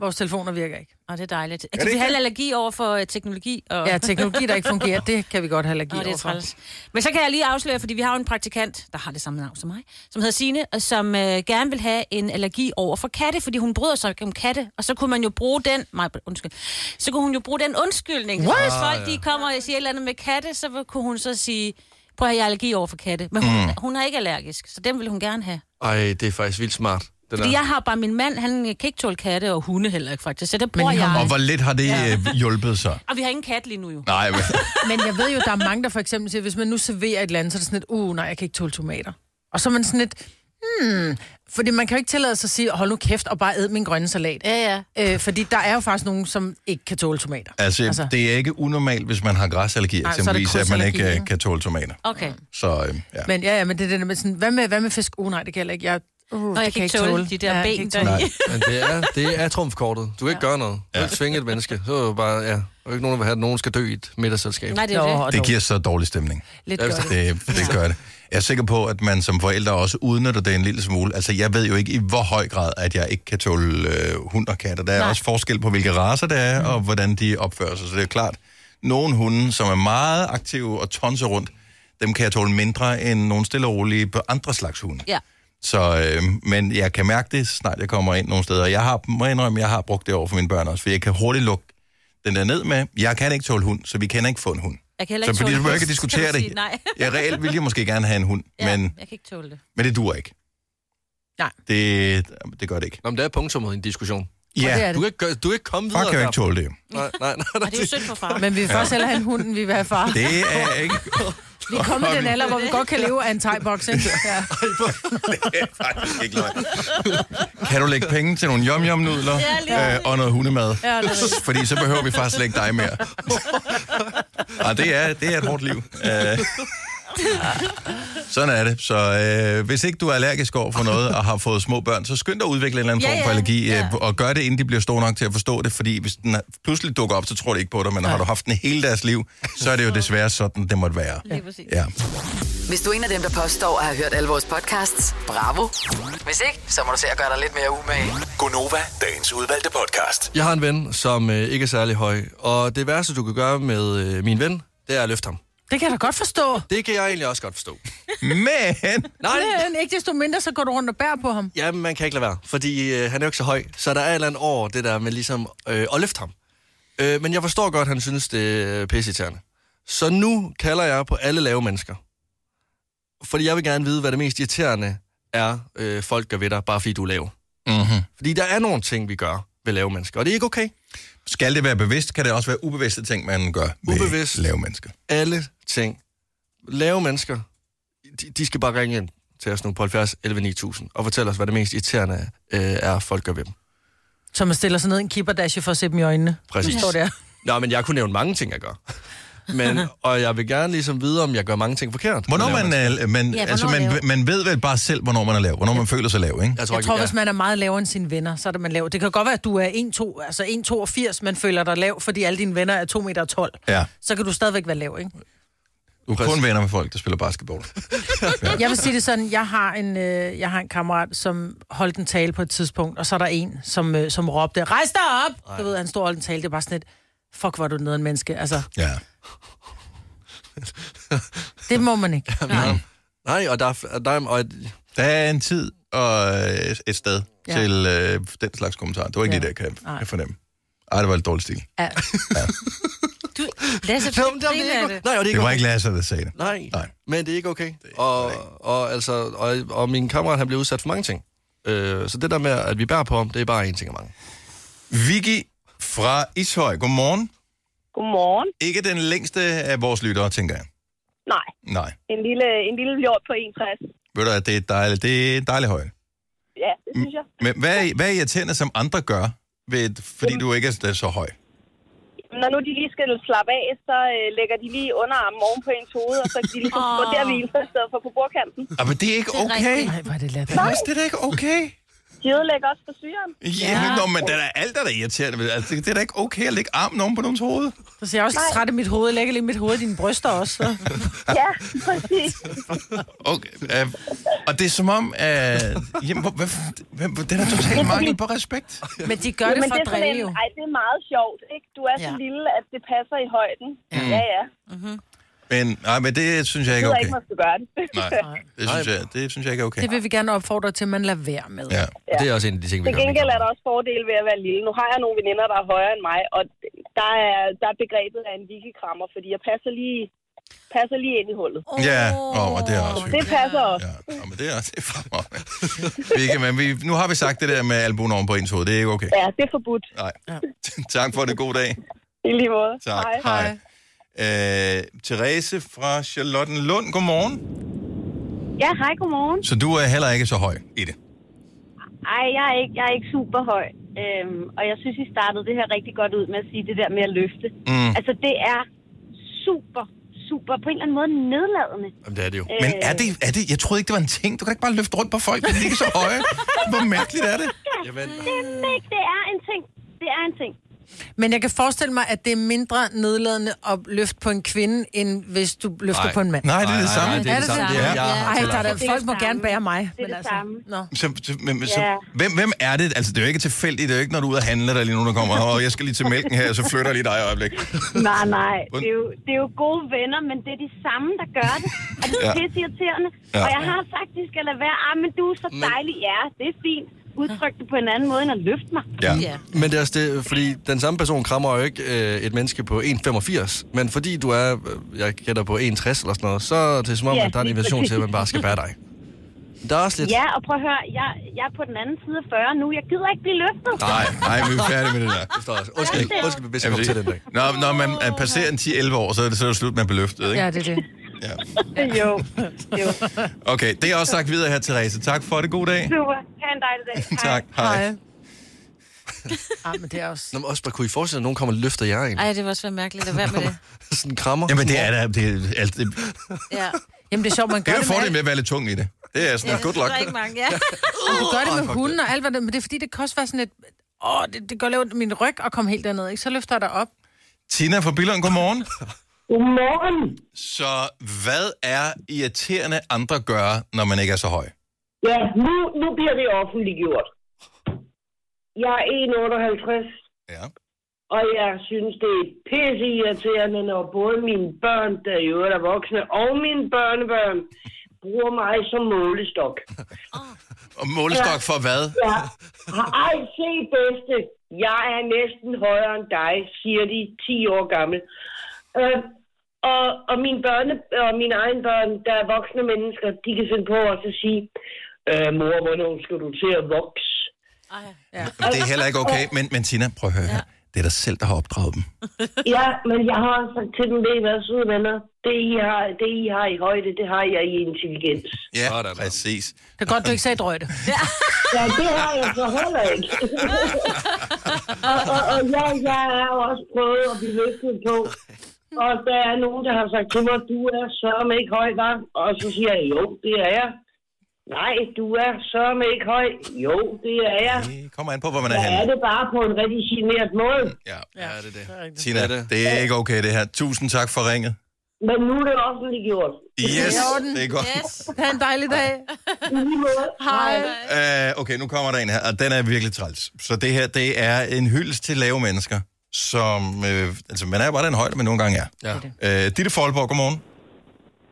S4: Vores telefoner virker ikke.
S3: Og det er dejligt.
S1: det
S3: Kan vi
S1: ikke
S3: have allergi over for øh, teknologi? Og...
S4: Ja, teknologi, der ikke fungerer, det kan vi godt have allergi
S3: Nå, det er
S4: overfor.
S3: træls. [LAUGHS] Men så kan jeg lige afsløre, fordi vi har jo en praktikant, der har det samme navn som mig, som hedder Sine, og som øh, gerne vil have en allergi over for katte, fordi hun bryder sig ikke om katte, og så kunne man jo bruge den, nej, undskyld, så kunne hun jo bruge den undskyldning. What? Hvis folk de kommer og siger et eller andet med katte, så vil- kunne hun så sige, prøv at have, jeg har allergi over for katte. Men hun, mm. hun er ikke allergisk, så den vil hun gerne have.
S2: Ej, det er faktisk vildt smart. Det
S3: Fordi jeg har bare min mand, han kan ikke tåle katte og hunde heller ikke faktisk, så det bruger
S4: I har-
S1: Og
S3: jeg.
S1: hvor lidt har det øh, hjulpet så?
S3: Og vi har ingen kat lige nu jo.
S1: Nej, men,
S4: Men jeg ved jo, der er mange, der for eksempel siger, hvis man nu serverer et eller andet, så er det sådan et, uh, nej, jeg kan ikke tåle tomater. Og så er man sådan et, hmm, fordi man kan jo ikke tillade sig at sige, hold nu kæft og bare æd min grønne salat.
S3: Ja, ja.
S4: Øh, fordi der er jo faktisk nogen, som ikke kan tåle tomater.
S1: altså, altså,
S4: Altså.
S1: det er ikke unormalt, hvis man har græsallergi,
S4: Nej, så er det
S1: eksempelvis, at man ikke
S4: krydsallergi,
S1: øh, kan tåle tomater.
S3: Okay.
S1: Så øh, ja.
S4: Men ja, ja, men det er det der med sådan, hvad med, hvad med fisk? Uh, nej, det gælder ikke. Jeg, uh, det
S3: Og jeg kan ikke tåle de der
S4: jeg kan
S3: ben
S4: ikke
S3: der.
S4: tåle-
S1: Nej.
S2: Men det er, det er trumfkortet. Du kan ikke gøre noget. Du kan ikke tvinge et menneske. Så er jo bare, ja. Der er ikke nogen, der vil have, at nogen skal dø i et middagsselskab.
S3: Nej, det er jo
S4: Nå,
S3: det.
S4: og
S1: Det
S4: dog.
S1: giver så dårlig stemning.
S4: Lidt gør det.
S1: Det, det gør det. Jeg er sikker på, at man som forældre også udnytter det en lille smule. Altså, jeg ved jo ikke i hvor høj grad, at jeg ikke kan tåle øh, hund og katter. Der er Nej. også forskel på, hvilke raser det er, mm. og hvordan de opfører sig. Så det er klart, nogle hunde, som er meget aktive og tonser rundt, dem kan jeg tåle mindre end nogle stille og rolige på andre slags hunde.
S3: Ja.
S1: Så, øh, men jeg kan mærke det, snart jeg kommer ind nogle steder. Jeg har, må jeg indrømme, jeg har brugt det over for mine børn også, for jeg kan hurtigt lukke den der ned med. Jeg kan ikke tåle hund, så vi kan ikke få en hund.
S3: Jeg kan heller
S1: Så
S3: ikke
S1: fordi
S3: tåle
S1: du må ikke
S3: hest,
S1: diskutere
S3: kan man
S1: det. [LAUGHS]
S3: sige. Nej.
S1: Jeg reelt ville jeg måske gerne have en hund, ja.
S3: Ja,
S1: men,
S3: jeg kan ikke tåle det.
S1: men det dur ikke.
S4: Nej.
S1: Det, det gør det ikke.
S2: Nå, men det er punktummet i en diskussion.
S1: Ja,
S4: det er
S2: Du kan ikke, gøre, du kan ikke komme videre.
S1: far kan jo ikke
S2: derfra.
S1: tåle det.
S2: Nej, nej, nej.
S3: Og det er jo synd for far.
S4: Men vi vil først hellere have en hund, end vi vil have far.
S1: Det er ikke...
S4: [LAUGHS] Vi er kommet i den alder, hvor vi godt kan leve af en
S2: [LAUGHS]
S4: thai-boks, ikke? Ja.
S1: det er faktisk ikke løgn. Kan du lægge penge til nogle yum-yum-nudler
S3: [LAUGHS]
S1: øh,
S3: Ja, lige
S1: og noget hundemad?
S4: Ja, det er rigtigt.
S1: Fordi så behøver vi faktisk slet ikke dig
S3: [LAUGHS]
S1: mere. Og det er, det er et hårdt liv. Øh, Sådan er det. Så øh, hvis ikke du er allergisk over for noget og har fået små børn, så skynd dig at udvikle en eller anden
S3: Ja,
S1: form for
S3: ja,
S1: allergi,
S3: ja.
S1: øh, og gør det, inden de bliver store nok til at forstå det, fordi hvis den er- pludselig dukker op, så tror de ikke på dig, men har du haft den hele deres liv, så er det jo desværre sådan, det måtte være.
S3: Lige præcis.
S1: Ja.
S5: Hvis du er en af dem, der påstår at have hørt alle vores podcasts, bravo. Hvis ikke, så må du se at gøre dig lidt mere umage.
S7: Gonova, dagens udvalgte podcast.
S2: Jeg har en ven, som øh, ikke er særlig høj. Og det værste, du kan gøre med øh, min ven, det er at løfte ham.
S4: Det kan jeg da godt forstå.
S2: Det kan jeg egentlig også godt forstå.
S1: Men
S2: Nej,
S4: Men ikke desto mindre, så går du rundt og bærer på ham.
S2: Jamen, man kan ikke lade være, fordi øh, han er jo ikke så høj. Så der er et eller andet over det der med ligesom øh, at løfte ham. Øh, men jeg forstår godt, at han synes, det er pisseirriterende. Så nu kalder jeg på alle lave mennesker. Fordi jeg vil gerne vide, hvad det mest irriterende er, øh, folk gør ved dig, bare fordi du er lav.
S1: Mhm.
S2: Fordi der er nogle ting, vi gør ved lave mennesker, og det er ikke okay.
S1: skal det være bevidst, kan det også være ubevidste ting, man gør ved
S2: Ubevidst.
S1: lave mennesker.
S2: Alle ting. Lave mennesker, de, de skal bare ringe ind til os nu på 70 11 9000 og fortælle os, hvad det mest irriterende øh, er, folk gør ved dem.
S4: Så man stiller sig ned i en kibberdasje for at se dem i øjnene.
S2: Præcis.
S4: Står der.
S2: Nå, men jeg kunne nævne mange ting, jeg gør. Men,
S3: [LAUGHS]
S2: og jeg vil gerne ligesom vide, om jeg gør mange ting forkert.
S1: Hvornår
S2: Eller-
S1: man, øh, man,
S3: Ja,
S1: ja, altså,
S3: hvornår
S1: man,
S3: lav?
S1: man ved vel bare selv, hvornår man er lav, hvornår man føler sig lav, ikke?
S2: Jeg tror,
S4: Jeg
S2: ikke,
S4: tror,
S2: ja.
S4: hvis man er meget lavere end sine venner, så er det man lav. Det kan godt være, at du er 1,2, altså 1,82, men føler dig lav, fordi alle dine venner er 2,12 meter.
S1: Ja.
S4: Så kan du stadigvæk være lav, ikke?
S1: Du er kun venner med folk, der spiller basketball.
S4: Jeg vil sige det sådan, jeg har en, øh, jeg har en kammerat, som holdt en tale på et tidspunkt, og så er der en, som, øh, som råbte, rejs dig op! Du ved, han stod og holdt en tale, det var bare sådan et, fuck, hvor er du nede en menneske. Altså,
S1: Ja.
S4: det må man ikke.
S2: Nej. Nej, og der er, f- der er, og et-
S1: Der er en tid og øh, et sted ja.
S4: Ja.
S1: til øh, den slags kommentar. Det var ikke ja.
S4: Ja.
S1: det, der kan,
S4: Nej.
S1: kan fornemme. Ej, det var lidt dårlig stil.
S4: Ja.
S3: Du, Lasse,
S2: Nå,
S3: du
S2: men det er
S3: griner af
S2: ikke, nej, og
S3: det.
S2: det er
S1: Det
S2: ikke
S1: var ikke Lasse, der sagde det.
S2: Nej,
S1: Nej.
S2: Nej, men det er ikke okay. og, og, altså, og, og min kammerat, han blev udsat for mange ting. Øh, så det der med, at vi bærer på ham, det er bare en ting af mange.
S1: Vicky fra Ishøj. Godmorgen.
S8: Godmorgen.
S1: Ikke den længste af vores lyttere, tænker jeg.
S8: Nej,
S1: Nej.
S8: en lille, en lille hjort på 61.
S1: Ved du, at det er dejligt. Det er dejligt højt.
S8: Ja, det synes jeg.
S1: Men hvad, er- hvad er irriterende, som andre gør, ved, fordi du ikke er så høj?
S8: Når nu de lige skal slappe af, så øh, lægger de lige underarmen oven på ens hoved, og så kan de ligesom
S3: Åh.
S8: oh. gå der og hvile sig i stedet for på bordkanten.
S1: Ah, men det er ikke
S3: Det er
S1: okay.
S3: rigtigt.
S4: Nej, hvor er det let.
S1: Mads, det er da ikke okay.
S8: De ødelægger også for
S1: [LAUGHS]
S8: syren.
S1: Ja, ja. Nå, men det er da alt, der er irriterende. ved- Altså, det er da ikke okay at lægge armen oven på nogens hoved.
S4: Så siger jeg også træt af mit hoved, lægger lige mit hoved i dine bryster også. Så.
S8: [LAUGHS] Ja, præcis.
S1: Okay. Øh, og det er som om, at... Jamen, hvor, hvad, hvem, den er totalt mangel på respekt.
S4: Men de gør det
S8: Men
S4: for
S8: det
S4: at
S8: er sådan en,
S4: drille jo.
S8: ej, det er meget sjovt, ikke? Du er så
S4: Ja.
S8: lille, at det passer i højden. Mm. Ja, ja.
S6: Mhm.
S1: Men, nej, men det synes jeg
S8: Jeg
S1: ikke
S8: ved
S1: er
S8: ikke,
S1: okay.
S8: man skal gøre det.
S1: Nej, det synes jeg, det synes jeg ikke er okay.
S4: Det vil vi gerne opfordre til, at man lader være med.
S1: Ja.
S2: Og det er også en af de ting, vi
S8: Til
S2: gør.
S8: gengæld er der også fordele ved at være lille. Nu har jeg nogle veninder, der er højere end mig, og der er, der er begrebet af en vikikrammer, fordi jeg passer lige, passer lige ind i hullet.
S1: Ja, åh, og det er
S8: Det
S1: også hyggeligt.
S8: passer også.
S1: Ja, nå, men det er også det er fremragende. Vi kan- men vi, nu har vi sagt det der med albuen oven på ens hoved. Det er ikke okay.
S8: Ja, det er forbudt.
S1: Nej. [LAUGHS] tak for det. God dag.
S8: I lige måde.
S1: Tak.
S8: Hej.
S1: Hej. Øh, Therese fra Charlottenlund, godmorgen.
S8: Ja, hej, godmorgen.
S1: Så du er heller ikke så høj i det.
S8: Ej, jeg er ikke, jeg er ikke super høj. Øhm, og jeg synes, I startede det her rigtig godt ud med at sige det der med at løfte.
S1: Mm.
S8: Altså, det er super, super, på en eller anden måde
S1: [LAUGHS]
S8: nedladende.
S2: Jamen, det er det jo.
S1: Men er det, er det, jeg troede ikke, det var en ting. Du kan ikke bare løfte rundt på folk, fordi de ikke er så høje. Hvor mærkeligt er det?
S2: Jamen,
S8: Ikke, det er en ting. Det er en ting.
S4: Men jeg kan forestille mig, at det er mindre nedladende at løfte på en kvinde, end hvis du løfter
S2: Nej.
S4: på en mand.
S1: Nej, det er det
S2: nej,
S1: samme.
S2: nej, det er det samme. Det er,
S1: Ja.
S2: jeg
S4: Ej, der er
S2: har
S4: da, folk må
S8: samme.
S4: gerne bære mig. altså,
S8: Det er det samme.
S4: Nå.
S1: Så, så, men, så,
S8: Ja.
S1: hvem, hvem er det? Altså, det er jo ikke tilfældigt. Det er jo ikke, når du er ude og handle, der er lige nogen, der kommer. Og jeg skal lige til mælken her, så flytter jeg lige dig et øjeblik.
S8: Nej, nej. Det er, jo, det er jo gode venner, men det er de samme, der gør
S1: [LAUGHS]
S8: det. Og det er
S1: Ja.
S8: ja. pisse irriterende.
S1: Ja.
S8: Ja. Og jeg har sagt, de skal lade være. Ah, men du er så dejlig. Ja, det er fint. Udtryk det på en anden måde, end at løfte mig.
S1: Ja.
S2: Men det er også det, fordi den samme person krammer jo ikke øh, et menneske på 1,85, men fordi du er, øh, jeg gætter på 1,60 eller sådan noget, så er det som om,
S8: Ja,
S2: at der er en
S8: lige
S2: invitation til, at man
S8: præcis.
S2: bare skal bære dig. Der er også lidt...
S8: Ja, og prøv at høre, jeg, jeg er på den anden side af 40 nu. Jeg gider ikke blive løftet.
S1: Nej, nej, vi er færdige med det
S8: [LAUGHS]
S1: der.
S2: Det står også. Undskyld, undskyld, vi bedste kom til den dag.
S1: Når, når man er passerer en 10-11 år, så er det, så er det slut med beløftet,
S4: Ja,
S1: ikke?
S4: det er det.
S1: Ja.
S8: Jo, jo.
S1: Okay, det er også sagt videre her, Therese. Tak for det. God dag.
S8: Super. Ha' en dejlig dag.
S1: [LAUGHS] Tak.
S3: [LAUGHS]
S1: Hej.
S4: Ej, men det er også...
S2: Nå, men også bare kunne I forestille jer, at nogen kommer og løfter jer en?
S3: Ej, det var også være mærkeligt at være
S2: [LAUGHS]
S3: med det.
S2: Sådan en krammer.
S1: Jamen, det er da... Det, er, alt- det,
S3: Ja.
S4: Jamen, det er sjovt, man
S1: det
S4: gør
S1: er
S4: det,
S1: jo fordelen
S4: med,
S1: ved at være lidt tung i det. Det er sådan, good
S3: Der
S1: luck.
S3: er ikke mange,
S1: [LAUGHS]
S3: ja.
S4: du gør det med hunden og alt, hvad det, men det er fordi, det kan også være sådan et... Åh, det, det gør lidt ondt i min ryg at komme helt derned, ikke? Så løfter jeg dig op.
S1: Tina fra Billund, godmorgen.
S8: Godmorgen.
S1: Så hvad er irriterende andre gør, når man ikke er så høj?
S8: Ja, nu, nu bliver det offentliggjort. Jeg er 1,58.
S1: Ja.
S8: Og jeg synes, det er pisse irriterende, når både mine børn, der jo er voksne, og mine børnebørn, bruger mig som målestok.
S1: [LAUGHS] Og målestok for hvad?
S8: Ja. Har ej, se bedste, jeg er næsten højere end dig, siger de 10 år gammel. Øh, og, og mine børne, og mine egne børn, der er voksne mennesker, de kan finde på også at sige, øh, mor, hvornår skal du til at vokse?
S3: Ej.
S1: Det er heller ikke okay. Men, men Tina, prøv at høre her. Det er dig selv, der har opdraget dem.
S8: Ja, men jeg har også sagt til dem, det I hvad, søde venner. Det I, har, det, I har i højde, det har jeg i intelligens.
S1: Ja,
S2: Sådan.
S1: præcis.
S4: Det er godt, du ikke sagde drøjte.
S8: Ja, det har jeg så heller ikke. og, og, og ja, jeg har også prøvet at blive løftet på. Og der er nogen, der har sagt til mig, du er sørme ikke høj, var. Og så siger jeg, jo, det er jeg. Nej, du er sørme ikke høj. Jo, det er jeg.
S1: Det kommer an på, hvor man er
S8: Jeg er
S1: henne.
S8: det bare på en rigtig generet måde.
S1: Ja.
S2: Ja, det er det.
S1: Tina,
S2: Det er det.
S1: det er ikke okay det her. Tusind tak for ringet.
S9: Men nu er det offentliggjort.
S1: Yes,
S4: I orden.
S1: det er godt.
S3: Yes.
S4: Ha' en dejlig dag.
S9: I lige måde.
S4: Hej.
S1: Uh, okay, nu kommer der en her, og den er virkelig træls. Så det her, det er en hyldest til lave mennesker, som... Øh, altså, man er jo bare den højde, man nogle gange er.
S2: [LAUGHS] Ja.
S1: Øh, Ditte Folborg, godmorgen.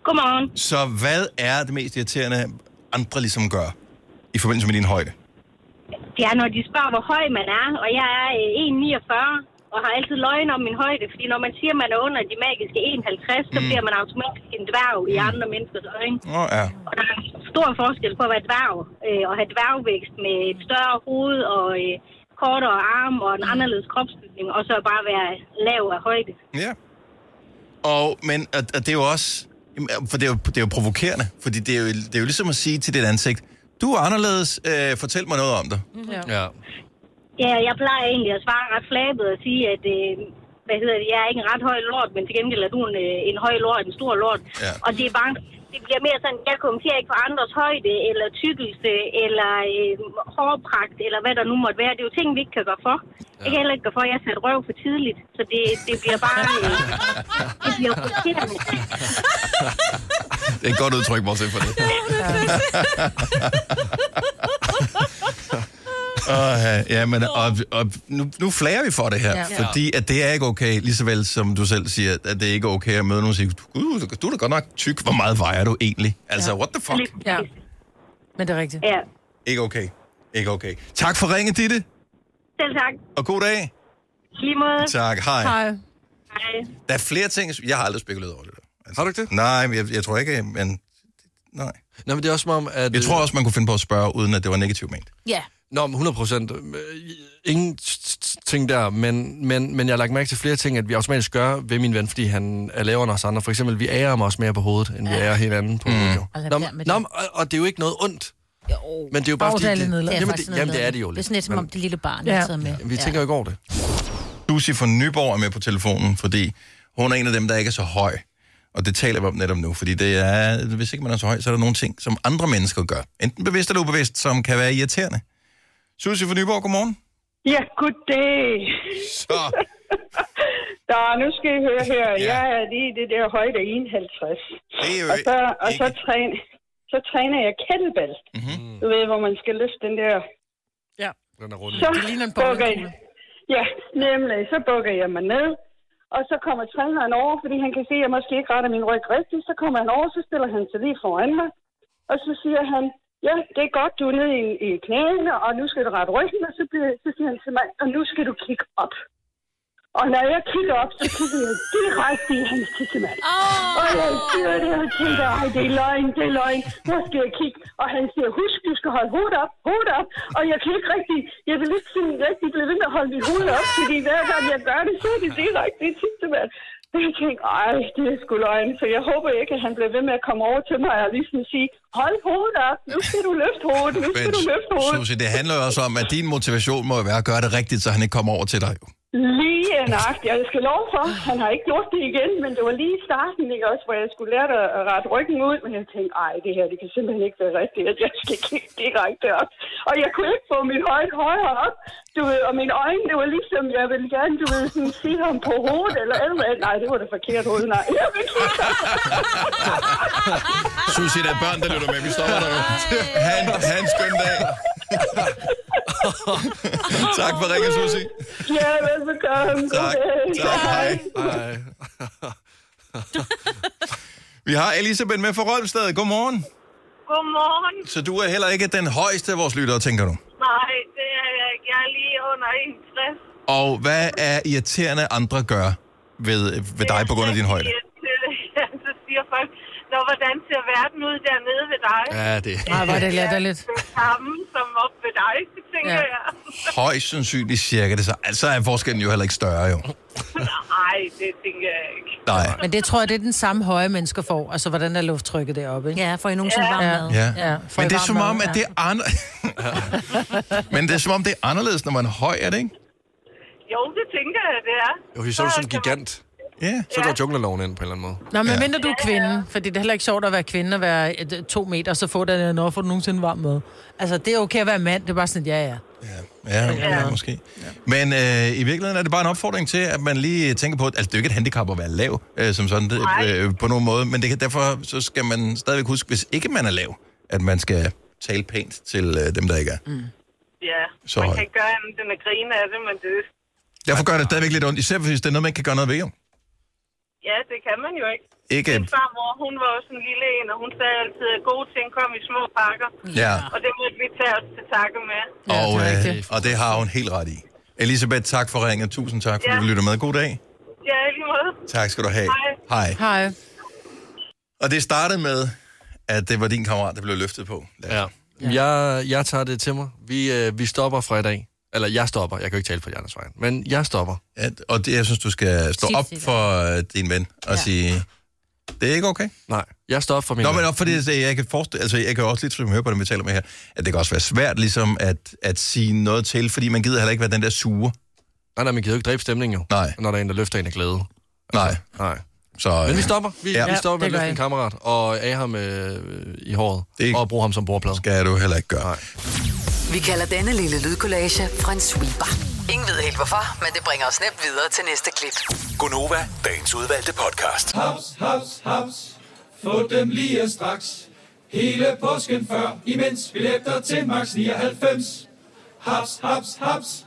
S9: Godmorgen.
S1: Så hvad er det mest irriterende, andre ligesom gør i forbindelse med din højde?
S9: Det er, når de spørger, hvor høj man er, og jeg er øh, 1,49 og har altid løgn om min højde, fordi når man siger, man er under de magiske 1,50, så bliver man automatisk en dværg i andre menneskers øjne.
S1: Åh, oh, ja.
S9: Og der er stor forskel på at være dværg øh, og have dværgvækst med et større hoved og øh, kortere arm og en anderledes kropsbygning, og så bare være lav af højde.
S1: Ja. Og, men, og, og det er jo også... jamen, For det er jo, det er jo provokerende, fordi det er jo, det er jo ligesom at sige til dit ansigt, du er anderledes, øh, fortæl mig noget om dig.
S2: Ja.
S9: Ja, jeg plejer egentlig at svare ret flabet og sige, at øh, hvad hedder det, jeg er ikke en ret høj lort, men til gengæld er du en, øh, en høj lort, en stor lort.
S1: Ja.
S9: Og det er bare, det bliver mere sådan, jeg kommenterer ikke på andres højde, eller tykkelse, eller øh, hårpragt, eller hvad der nu måtte være. Det er jo ting, vi ikke kan gøre for. Ja. Jeg kan heller ikke gøre for, at jeg satte røv for tidligt, så det, det bliver
S1: [LAUGHS]
S9: bare... Øh, det bliver frustrerende.
S1: Det er et godt udtryk, bortset for det. Uh, ja, men og, og, nu, nu flager vi for det her,
S4: Ja.
S1: ja. fordi at det er ikke okay, lige så vel som du selv siger, at det ikke er okay at møde nogen og sige, "Gud, du, du er da godt nok tyk, hvor meget vejer du egentlig? Altså, what the fuck?
S4: Ja. Men det er rigtigt.
S9: Ja.
S1: Ikke okay. Ikke okay. Tak for ringen, Ditte,
S9: Selv tak.
S1: og god dag.
S9: I Lige måde.
S1: Tak, hej.
S4: Hej.
S9: Hej.
S1: Der er flere ting, jeg har aldrig spekuleret over det der. Altså,
S2: Har du ikke det?
S1: Nej, men jeg, jeg tror ikke, men... Nej.
S2: Nå, men det er også som om, at... øh,
S1: Jeg tror også, man kunne finde på at spørge, uden at det var negativt ment.
S3: Ja.
S2: Nå, men 100 procent. Øh, Ingen t- t- ting der, men, men, men jeg har lagt mærke til flere ting, at vi automatisk gør ved min ven, fordi han er lavere end os andre. For eksempel, vi ærer ham også mere på hovedet, end vi ærer hinanden på hovedet. jo.
S4: Og lad
S2: Nå,
S4: være
S2: men-
S4: med det.
S2: Nå, men- og, og det er jo ikke noget ondt.
S3: Jo.
S2: Men det er jo bare,
S4: Åh,
S2: fordi...
S4: det er lidt nedladende.
S2: jamen,
S3: faktisk
S2: det, jamen, det er
S3: nedladende.
S2: det jo.
S3: Det er sådan lidt som om det lille barn, jeg
S4: Ja.
S3: har taget med.
S2: Vi tænker jo ikke over det.
S1: Lucy fra Nyborg er med på telefonen, fordi hun er en af dem, der ikke er så høj. Og det taler vi om netop nu, fordi det er, hvis ikke man er så høj, så er der nogle ting, som andre mennesker gør. Enten bevidst eller ubevidst, som kan være irriterende. Susie fra Nyborg, godmorgen.
S10: Ja, goddag.
S1: Så,
S10: [LAUGHS] Nå, nu skal I høre her.
S1: Ja.
S10: Ja. Jeg er lige i det der højde 51.
S1: det er jo
S10: Og så, og så,
S1: ikke... Mhm.
S10: træner, så træner jeg kettlebell. Mm-hmm. Du ved, hvor man skal løfte den der.
S2: Den er rundt.
S10: Så
S4: Det ligner en
S10: bukker
S4: bowlingkugle.
S10: jeg. Ja, nemlig. Så bukker jeg mig ned. Og så kommer træneren over, fordi han kan se, at jeg måske ikke retter min ryg rigtigt. Så kommer han over, så stiller han sig lige foran her. Og så siger han, ja, det er godt, du er nede i, i knæene, og nu skal du rette ryggen. Og så, bliver, så siger han til mig, og nu skal du kigge op. Og når jeg kigger op, så kigger jeg direkte i hans tissemand. Oh. Og jeg siger det, og tænker, ej, det er løgn, det er løgn. Hvor skal jeg kigge? Og han siger, husk, du skal holde hovedet op, hovedet op. Og jeg kan ikke rigtig, jeg vil ikke sådan rigtig blive ved med at holde mit hoved op, fordi hver gang jeg gør det, så er det direkte i tissemand. Og jeg tænkte, ej, det er sgu løgn, så jeg håber ikke, at han bliver ved med at komme over til mig og ligesom sige, hold hovedet op, nu skal du løfte hovedet, nu skal du løfte
S1: Men,
S10: hovedet.
S1: Susie, det handler jo også om, at din motivation må jo være at gøre det rigtigt, så han ikke kommer over til dig. jo.
S10: Lige nøjagtigt. Jeg skal love for, han har ikke gjort det igen, men det var lige i starten, ikke også, hvor jeg skulle lære at at rette ryggen ud, men jeg tænkte, ej, det her, det kan simpelthen ikke være rigtigt, at jeg skal kigge direkte op. Og jeg kunne ikke få mit højt højere op, du ved, og mine øjne, det var ligesom, jeg ville gerne, du ved, sådan sige ham på hovedet, eller eller andet. Nej, det var det forkert hoved, nej. Jeg vil kigge op.
S1: [LAUGHS] Susie, der er børn, der lytter med. Vi stopper der jo. Han, han skøn dag. tak for ringen, Susie.
S10: Ja, velbekomme.
S1: Tak. Tak. Hej.
S2: Ej.
S1: Vi har Elisabeth med fra Rødstad. Godmorgen.
S9: Godmorgen.
S1: Så du er heller ikke den højeste af vores lyttere, tænker du?
S9: Nej, det er jeg ikke. Jeg er lige under 61.
S1: Og hvad er irriterende andre gør ved, ved dig på grund af din højde?
S9: Så siger folk, Nå, hvordan ser verden ud dernede ved dig? Ja.
S2: Ja, det
S4: Ej, hvor er det latterligt.
S9: Det samme som op ved dig, så tænker
S4: Ja.
S9: ja. jeg.
S1: Højst sandsynligt cirka det så. Altså er forskellen jo heller ikke større, jo.
S9: Nej, det tænker jeg ikke.
S1: Nej.
S4: Men det tror jeg, det er den samme høje mennesker får. Altså, hvordan er lufttrykket deroppe, ikke?
S3: Ja, får I nogensinde varm mad?
S1: Ja.
S4: Ja, for
S1: Men det er
S4: varm
S1: som
S4: mad,
S1: om, at
S4: ja.
S1: det er andre... [LAUGHS] Men det er som om, det er anderledes, når man er høj, er det ikke?
S9: Jo, det tænker jeg, det er.
S2: Jo, vi så er du sådan en gigant.
S1: Ja.
S2: Så går junglerloven ind på en eller anden måde.
S4: Nå, men
S1: Ja.
S4: mindre du er kvinde, fordi det er heller ikke sjovt at være kvinde og være øh, to meter, så få den, når får du nogensinde varm med. Altså, det er okay at være mand, det er bare sådan, ja, ja.
S1: Ja, ja. måske. Men øh, i virkeligheden er det bare en opfordring til, at man lige tænker på, at altså, det er jo ikke et handicap at være lav, øh, som sådan, det, øh, på nogen måde, men det kan, derfor så skal man stadigvæk huske, hvis ikke man er lav, at man skal tale pænt til øh, dem, der ikke er. Mm.
S11: Ja,
S1: Så
S11: så man
S1: høj.
S11: kan ikke gøre andet end at grine af det, men det,
S1: Derfor gør det stadigvæk lidt ondt, især hvis det er noget, man ikke kan gøre noget ved. Jo.
S11: ja, det kan man jo ikke.
S1: Ikke-
S11: Min farmor, hun var også en lille en, og hun sagde altid, at gode ting kom i små pakker.
S1: Ja.
S11: Og det måtte vi tage os til takke med.
S1: og, øh, og det har hun helt ret i. Elisabeth, tak for ringen. Tusind tak, fordi
S11: Ja.
S1: ja. du lytter med. God dag.
S11: Ja, i lige måde.
S1: Tak skal du have.
S11: Hej.
S1: Hej.
S4: Hej.
S1: Og det startede med, at det var din kammerat, der blev løftet på. Ja.
S2: Ja. Jeg, jeg tager det til mig. Vi, øh, vi stopper fra i dag. Eller jeg stopper. Jeg kan jo ikke tale på de andres vejen. Men jeg stopper.
S1: Ja, og det, jeg synes, du skal stå
S2: Sig
S1: op
S2: til dig.
S1: for øh, din ven og ja. sige, det er ikke okay.
S2: Nej, jeg står op for min
S1: Nå,
S2: ven.
S1: men op fordi det, jeg kan forestille, altså jeg kan også lidt som høre på det, vi taler med her, at det kan også være svært ligesom at, at sige noget til, fordi man gider heller ikke være den der sure.
S2: Nej, nej, man gider jo ikke dræbe stemningen jo.
S1: Nej.
S2: Når der er en, der løfter en af glæde. Altså,
S1: Nej.
S2: Nej.
S1: Så,
S2: Men
S1: øh,
S2: vi stopper. Vi,
S1: ja.
S2: ja, vi stopper
S1: Ja,
S2: med
S1: det
S2: at
S1: gør
S2: løfte en
S1: jeg.
S2: kammerat og af ham øh, i håret. Det og bruge ham som bordplade.
S1: Skal du heller ikke gøre.
S2: Nej.
S5: Vi kalder denne lille lydkollage en sweeper. Ingen ved helt hvorfor, men det bringer os nemt videre til næste klip.
S7: Gunova, dagens udvalgte podcast.
S12: Haps, haps, haps. Få dem lige straks. Hele påsken før, imens billetter til max 99. Haps, haps, haps.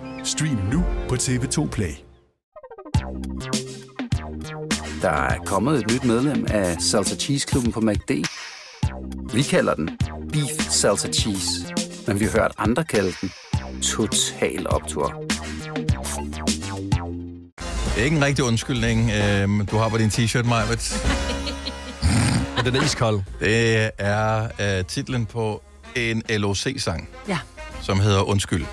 S13: Stream nu på TV2 Play.
S14: Der er kommet et nyt medlem af Salsa Cheese Klubben på MACD. Vi kalder den Beef Salsa Cheese, men vi har hørt andre kalde den Total Optor.
S1: Det er ikke en rigtig undskyldning, øhm, du har på din t-shirt, Majbert.
S2: Men [LAUGHS] den er iskold.
S1: Det er øh, titlen på en LOC-sang,
S4: Ja.
S1: som hedder Undskyld.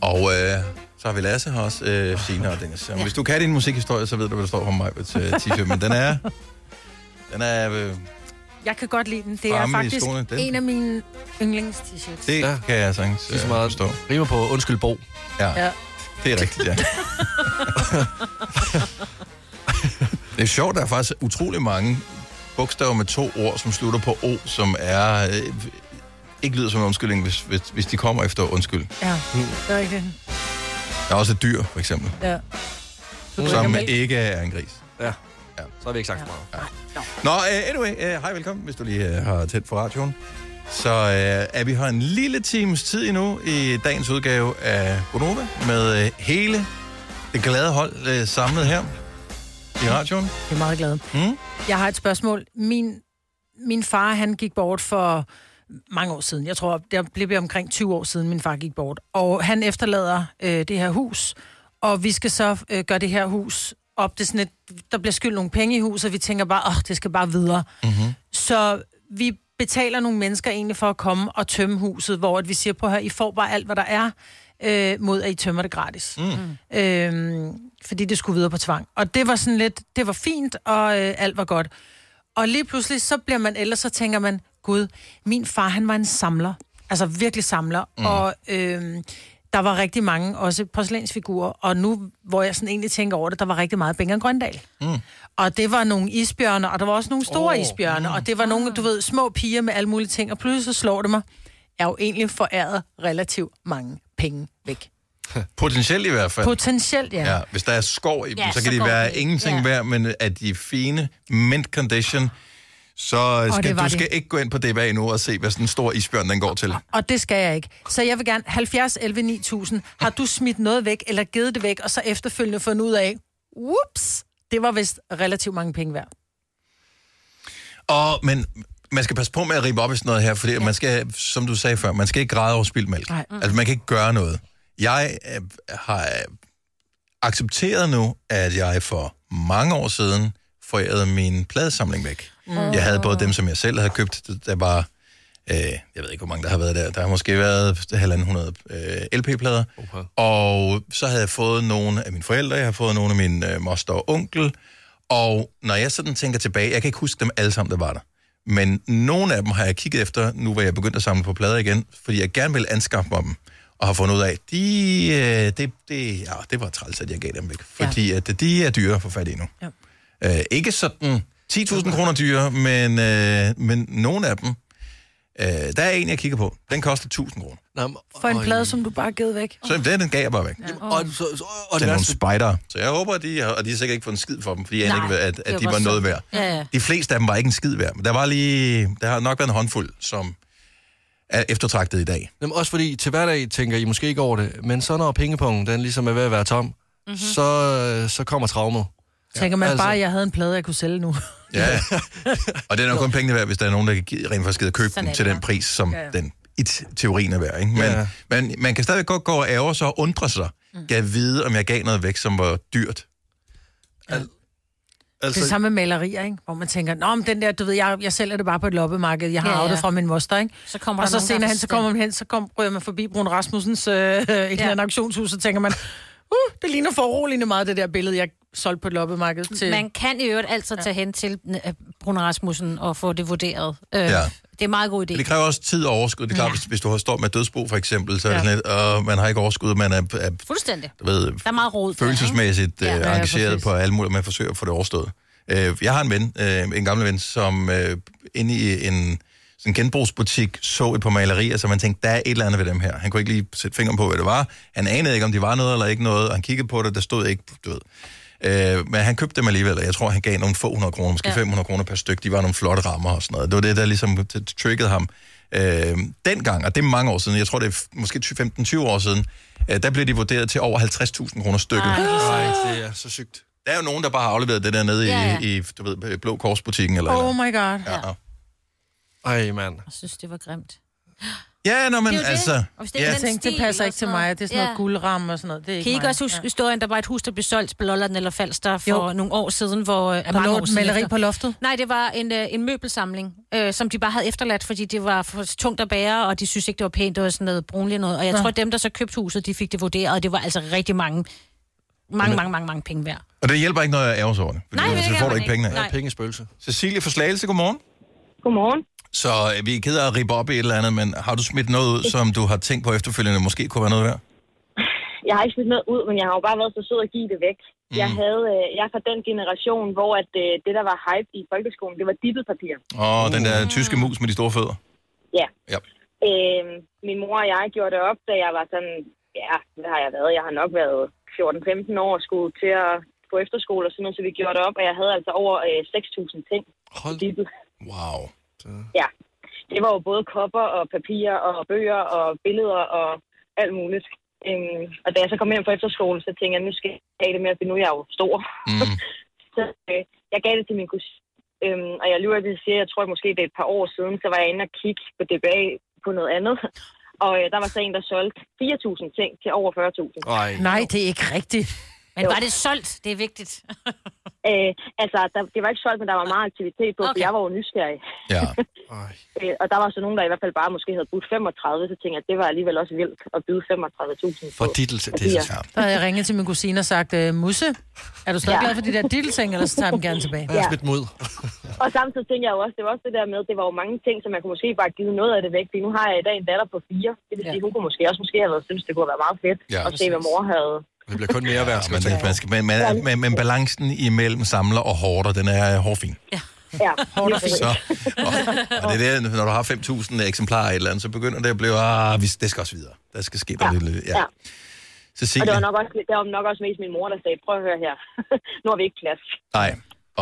S1: Og øh, så har vi Lasse her også, øh, Signe og Dennis. Ja. Hvis du kan din musikhistorie, så ved du, hvad der står på Majberts øh, t-shirt, men den er... Den er... Øh,
S4: Jeg kan godt lide den. Det er
S1: Fremme i
S4: faktisk
S1: skoene, den.
S4: en af mine yndlings t-shirts.
S1: det ja. kan jeg sagtens øh, forstå.
S2: Rimer på Undskyld Bo.
S1: Ja,
S4: Ja.
S1: ja, det er rigtigt, ja. Det er sjovt, der er faktisk utrolig mange bogstaver med to ord, som slutter på O, som er... Øh, ikke lyder som en undskyldning, hvis, hvis, hvis de kommer efter undskyld.
S4: Ja,
S1: Mm.
S4: det er rigtigt.
S1: Der er også et dyr, for eksempel,
S4: Ja.
S1: som ikke er en gris.
S2: Ja. ja. Så har vi ikke sagt for meget.
S1: Nå, uh, anyway, uh, hej, velkommen, hvis du lige uh, har tæt på radioen. Så uh, er vi her en lille times tid endnu i dagens udgave af Bonova med uh, hele det glade hold uh, samlet her i radioen.
S4: Jeg er meget glad.
S1: Mm?
S4: Jeg har et spørgsmål. Min, min far, han gik bort for mange år siden. Jeg tror, der blev jeg omkring 20 år siden, min far gik bort. Og han efterlader øh, det her hus, og vi skal så øh, gøre det her hus op. Det er sådan et, der bliver skyldt nogle penge i huset, og vi tænker bare, åh, det skal bare videre.
S1: Mhm.
S6: Mm-hmm.
S4: Så vi betaler nogle mennesker egentlig for at komme og tømme huset, hvor at vi siger, på her, I får bare alt, hvad der er, øh, mod at I tømmer det gratis. Mm. Øhm, fordi det skulle videre på tvang. Og det var sådan lidt, det var fint, og øh, alt var godt. Og lige pludselig, så bliver man ellers, så tænker man, Gud, min far, han var en samler. Altså virkelig samler. Mm. Og øh, der var rigtig mange, også porcelænsfigurer. Og nu, hvor jeg sådan egentlig tænker over det, der var rigtig meget Bengeren Grøndal.
S6: Mm.
S4: Og det var nogle isbjørne, og der var også nogle store oh, isbjørne, og det var nogle,
S1: Ah.
S4: du ved, små piger med alle mulige ting, og pludselig så slår det mig, jeg er jo egentlig foræret relativt mange penge væk.
S1: Potentielt i hvert fald.
S4: Potentielt, ja.
S1: Ja, hvis der er skov i dem,
S4: Ja,
S1: ja, så
S4: så
S1: kan de
S4: går
S1: være
S4: det ikke.
S1: ingenting
S4: Ja.
S1: ja. værd, men er de fine, mint condition, så
S4: det
S1: skal,
S4: var
S1: du
S4: de.
S1: skal ikke gå ind på DBA nu og se, hvad sådan en stor isbjørn den går til.
S4: Og det skal jeg ikke. Så jeg vil gerne, 70, 11, 9000, har du smidt noget væk, eller givet det væk, og så efterfølgende fundet ud af, whoops, det var vist relativt mange penge værd.
S1: Og, men man skal passe på med at ribe op i sådan noget her, fordi ja. man skal, som du sagde før, man skal ikke græde over spildt mælk.
S4: Nej. Mm.
S1: Altså, man kan ikke gøre noget. Jeg øh, har øh, accepteret nu, at jeg for mange år siden forærede min pladesamling væk. Mm.
S15: Mm.
S1: Jeg havde både dem, som jeg selv havde købt, der var øh, jeg ved ikke, hvor mange der har været der, der har måske været halvanden hundrede øh, LP-plader, okay. og så havde jeg fået nogle af mine forældre, jeg har fået nogle af min øh, moster og onkel, og når jeg sådan tænker tilbage, jeg kan ikke huske dem alle sammen, der var der, men nogle af dem har jeg kigget efter, nu hvor jeg begyndt at samle på plader igen, fordi jeg gerne vil anskaffe mig dem, og har fundet ud af, de, øh, det, det, ja, det var træls, at jeg gav dem væk, fordi ja. at de er dyre at få fat i nu.
S4: Ja.
S1: Øh, ikke sådan 10.000 kroner dyre, men, øh, men nogle af dem. Øh, der er en, jeg kigger på. Den koster 1.000 kroner.
S4: For en plade, som du bare har givet væk.
S1: Så den, den gav jeg bare væk. Ja.
S2: Og, så, så, og
S1: Og det
S2: det
S1: er nogle
S2: værste,
S1: spider. Så jeg håber, at de har, og de har sikkert ikke fået en skid for dem, fordi jeg
S2: Nej,
S1: aner ikke, at,
S2: det var
S1: at de
S2: bare
S1: var noget
S2: synd.
S1: værd.
S2: Ja, ja.
S1: De fleste af dem var ikke en skid værd, men der var lige, der har nok været en håndfuld, som er eftertragtet i dag.
S2: Jamen, også fordi til hverdag tænker I måske ikke over det, men så når pengepongen den ligesom er ved at være tom,
S4: Mhm.
S2: mm-hmm. så, øh, så kommer traumet.
S4: Tænker man
S2: Altså-
S4: bare, at jeg havde en plade, jeg kunne sælge nu.
S1: Ja.
S4: [LAUGHS]
S1: og det er nok kun pengene værd, hvis der er nogen, der kan gi- rent faktisk gider købe
S4: Sådan
S1: den
S4: er
S1: til
S4: det
S1: den
S4: bare.
S1: pris, som
S4: Ja, ja.
S1: den i t- teorien er værd. Ikke? Men, ja. men man kan stadigvæk godt gå og ærge sig og undre sig. Mm. Jeg vide, om jeg gav noget væk, som var dyrt.
S4: Altså... Det samme med malerier, ikke? hvor man tænker, Nå, men den der, du ved, jeg, jeg sælger det bare på et loppemarked, jeg har
S3: Ja,
S4: ja,
S3: ja.
S4: ja. det fra min moster, ikke?
S3: Så kommer der
S4: og så
S3: nogen, der
S4: senere hen, så
S3: forstår.
S4: kommer man hen, så kom, ryger man forbi Brun Rasmussens øh, [LAUGHS] et ja. eller andet auktionshus, så tænker man, uh, det ligner foruroligende meget det der billede, jeg solgte på et loppemarked til.
S3: Man kan i øvrigt altid tage hen til øh, Bruno Rasmussen og få det vurderet. Øh,
S1: Ja.
S3: ja. Det er en meget god idé.
S1: Men det kræver også tid og overskud. Det er klart, ja. hvis, hvis du har står med dødsbo for eksempel, så er det
S3: Ja.
S1: sådan lidt, og man har ikke overskud, man er, er
S3: Fuldstændig.
S1: du ved,
S3: Der er meget rod. der, ikke?
S1: følelsesmæssigt ja,
S3: Ja.
S1: øh,
S3: Ja, ja,
S1: engageret
S3: præcis.
S1: på alle mulige, man forsøger at få det overstået. Øh, jeg har en ven, øh, en gammel ven, som øh, inde i en sådan genbrugsbutik så et par malerier, så man tænkte, der er et eller andet ved dem her. Han kunne ikke lige sætte fingeren på, hvad det var. Han anede ikke, om de var noget eller ikke noget, og han kiggede på det, der stod ikke, du ved. Øh, men han købte dem alligevel, og jeg tror, han gav nogle få hundrede kroner, måske ja.
S15: Ja.
S1: 500 kroner per styk. De var nogle flotte rammer og sådan noget. Det var det, der ligesom t- t- triggede ham. Øh, dengang, og det er mange år siden, jeg tror, det er f- måske 20 15-20 år siden, øh, der blev de vurderet til over 50.000 kroner stykket.
S3: Ah.
S2: Nej, det er så sygt.
S1: Der er jo nogen, der bare har afleveret det der nede
S4: Ja,
S1: ja,
S4: ja.
S1: ja. i, i du ved, øh, Blå Korsbutikken eller
S4: Oh my god.
S1: Ja. ja.
S2: Ej, mand.
S3: Jeg synes, det var grimt.
S1: Ja, nå, men
S3: Det er jo det.
S1: altså...
S3: Og hvis det ikke er
S1: ja.
S3: den
S4: Tænkte, det
S3: stil
S4: passer
S3: og
S4: ikke til
S3: sådan noget.
S4: mig, det er sådan noget
S3: Ja.
S4: guldramme og sådan noget. Det er ikke
S3: Kan I ikke
S4: mig.
S3: også huske ja. historien, der var et hus, der blev solgt på Lolland eller Falster for
S4: Jo.
S3: jo. nogle år siden, hvor... Der
S4: lå et maleri på loftet?
S3: Nej, det var en, øh, en møbelsamling, øh, som de bare havde efterladt, fordi det var for tungt at bære, og de synes ikke, det var pænt, det var sådan noget brunligt noget. Og jeg
S4: Nå.
S3: tror, dem, der så købte huset, de fik det vurderet, og det var altså rigtig mange, mange, mange, mange, mange penge værd.
S1: Og det hjælper ikke noget at ærge sig over det.
S3: Nej, det
S1: så
S3: gør
S1: får du
S3: man
S1: ikke
S3: ikke.
S1: pengene.
S3: Nej. Ja,
S2: pengespølse.
S1: Cecilie fra Slagelse, godmorgen.
S11: Godmorgen.
S1: Så øh, vi er ked af at rippe op i et eller andet, men har du smidt noget ud, som du har tænkt på efterfølgende, måske kunne være noget værd?
S11: Jeg har ikke smidt noget ud, men jeg har jo bare været så sød at give det væk. Mm. Jeg, havde, øh, jeg er fra den generation, hvor at, øh, det, der var hype i folkeskolen, det var dippet papir.
S1: Og den der tyske mus med de store fødder.
S11: Ja.
S1: Ja.
S11: Øh, min mor og jeg gjorde det op, da jeg var sådan, ja, hvad har jeg været? Jeg har nok været 14-15 år og skulle til at på efterskole og sådan noget, så vi gjorde det op, og jeg havde altså over øh, 6.000 ting.
S2: Hold. Wow.
S11: Ja. Det var jo både kopper og papir og bøger og billeder og alt muligt. Øhm, og da jeg så kom hjem fra efterskole, så tænkte jeg, nu skal jeg have det med, at nu er jeg jo stor.
S1: Mm.
S11: så øh, jeg gav det til min kusine. Øhm, og jeg lyver, at jeg siger, jeg tror at måske det er et par år siden, så var jeg inde og kigge på DBA på noget andet. [LAUGHS] Og øh, der var så en, der solgte 4.000 ting til over 40.000.
S2: Ej.
S4: Nej, det er ikke rigtigt.
S3: Men
S11: Jo.
S3: var det solgt? Det er vigtigt.
S11: [LAUGHS] Øh, altså, der, det var ikke solgt, men der var meget aktivitet på, okay. for jeg var jo nysgerrig. [LAUGHS]
S1: Ja.
S11: Øh, og der var så nogen, der i hvert fald bare måske havde budt 35, så tænkte jeg, at det var alligevel også vildt at byde 35.000 på.
S2: For dittelse, det
S11: papirer.
S2: er så skarpt.
S4: Der havde jeg ringet til min kusine og sagt, øh, Musse, er du stadig
S11: Ja.
S4: ja. glad for de der dittelting, eller så tager jeg dem gerne tilbage?
S11: Ja.
S2: Smidt mod.
S11: Og samtidig tænker jeg jo også, det var også det der med, det var jo mange ting, som man kunne måske bare give noget af det væk. Fordi nu har jeg i dag en datter på fire. Det vil sige, hun kunne måske også måske have været, synes, det kunne have været meget fedt
S1: Ja.
S11: at se, hvad mor havde.
S2: Det bliver kun mere værd,
S1: Ja, man, man, skal, men, man, man, men balancen imellem samler og hårder, den er hårfin.
S11: Ja,
S1: Så, og, og det er det, når du har 5.000 eksemplarer af et eller andet, så begynder det at blive, ah, vi, det skal også videre. Der skal ske noget ja. lidt. Ja.
S11: ja.
S1: Cecilie.
S11: Og det var, nok også, det var nok også mest min mor, der sagde, prøv at høre her, [LAUGHS] nu har vi ikke plads.
S1: Nej.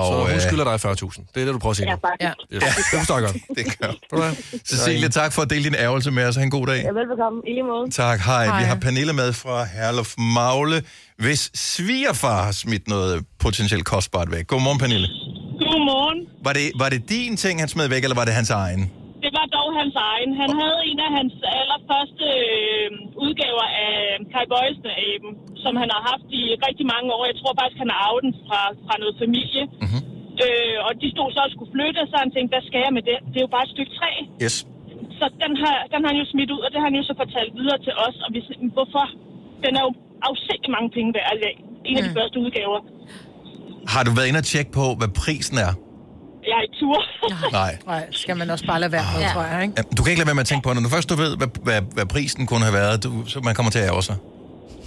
S1: Og,
S2: så hun
S1: øh,
S2: skylder dig 40.000. Det er det, du prøver at sige.
S11: Ja,
S2: nu.
S11: faktisk. Ja.
S2: Yes. Det forstår jeg godt.
S1: Det gør
S2: du hvad?
S1: Cecilie, tak for at dele din ærgelse med os. Ha' en god dag.
S11: Ja, velbekomme. I lige måde.
S1: Tak, hej.
S11: Hej.
S1: Vi har Pernille med fra Herluf Magle, hvis svigerfar har smidt noget potentielt kostbart væk. Godmorgen, Pernille.
S16: Godmorgen.
S1: Var det, var det din ting, han smed væk, eller var det hans egen?
S16: Det var dog hans egen. Han havde en af hans allerførste øh, udgaver af Kai Bøjsen-aben, som han har haft i rigtig mange år. Jeg tror faktisk, han har arvet den fra, fra noget familie.
S1: Mhm.
S16: Mm-hmm. Øh, og de stod så og skulle flytte, så han tænkte, hvad skal jeg med det? Det er jo bare et stykke træ.
S1: Yes.
S16: Så den har, den har han jo smidt ud, og det har han jo så fortalt videre til os. Og vi siger, "Men hvorfor? Den er jo afsindig mange penge værd. Altså, en
S3: Mm.
S16: af de første udgaver.
S1: Har du været inde og tjekke på, hvad prisen er?
S16: Jeg er i tur.
S1: Nej.
S4: Nej, skal man også bare lade være med,
S3: Ah.
S4: ja. tror jeg, ikke?
S1: Jamen, Du kan ikke lade være med at tænke på, når du først du ved, hvad, hvad, hvad prisen kunne have været, du, så man kommer til at ærge sig.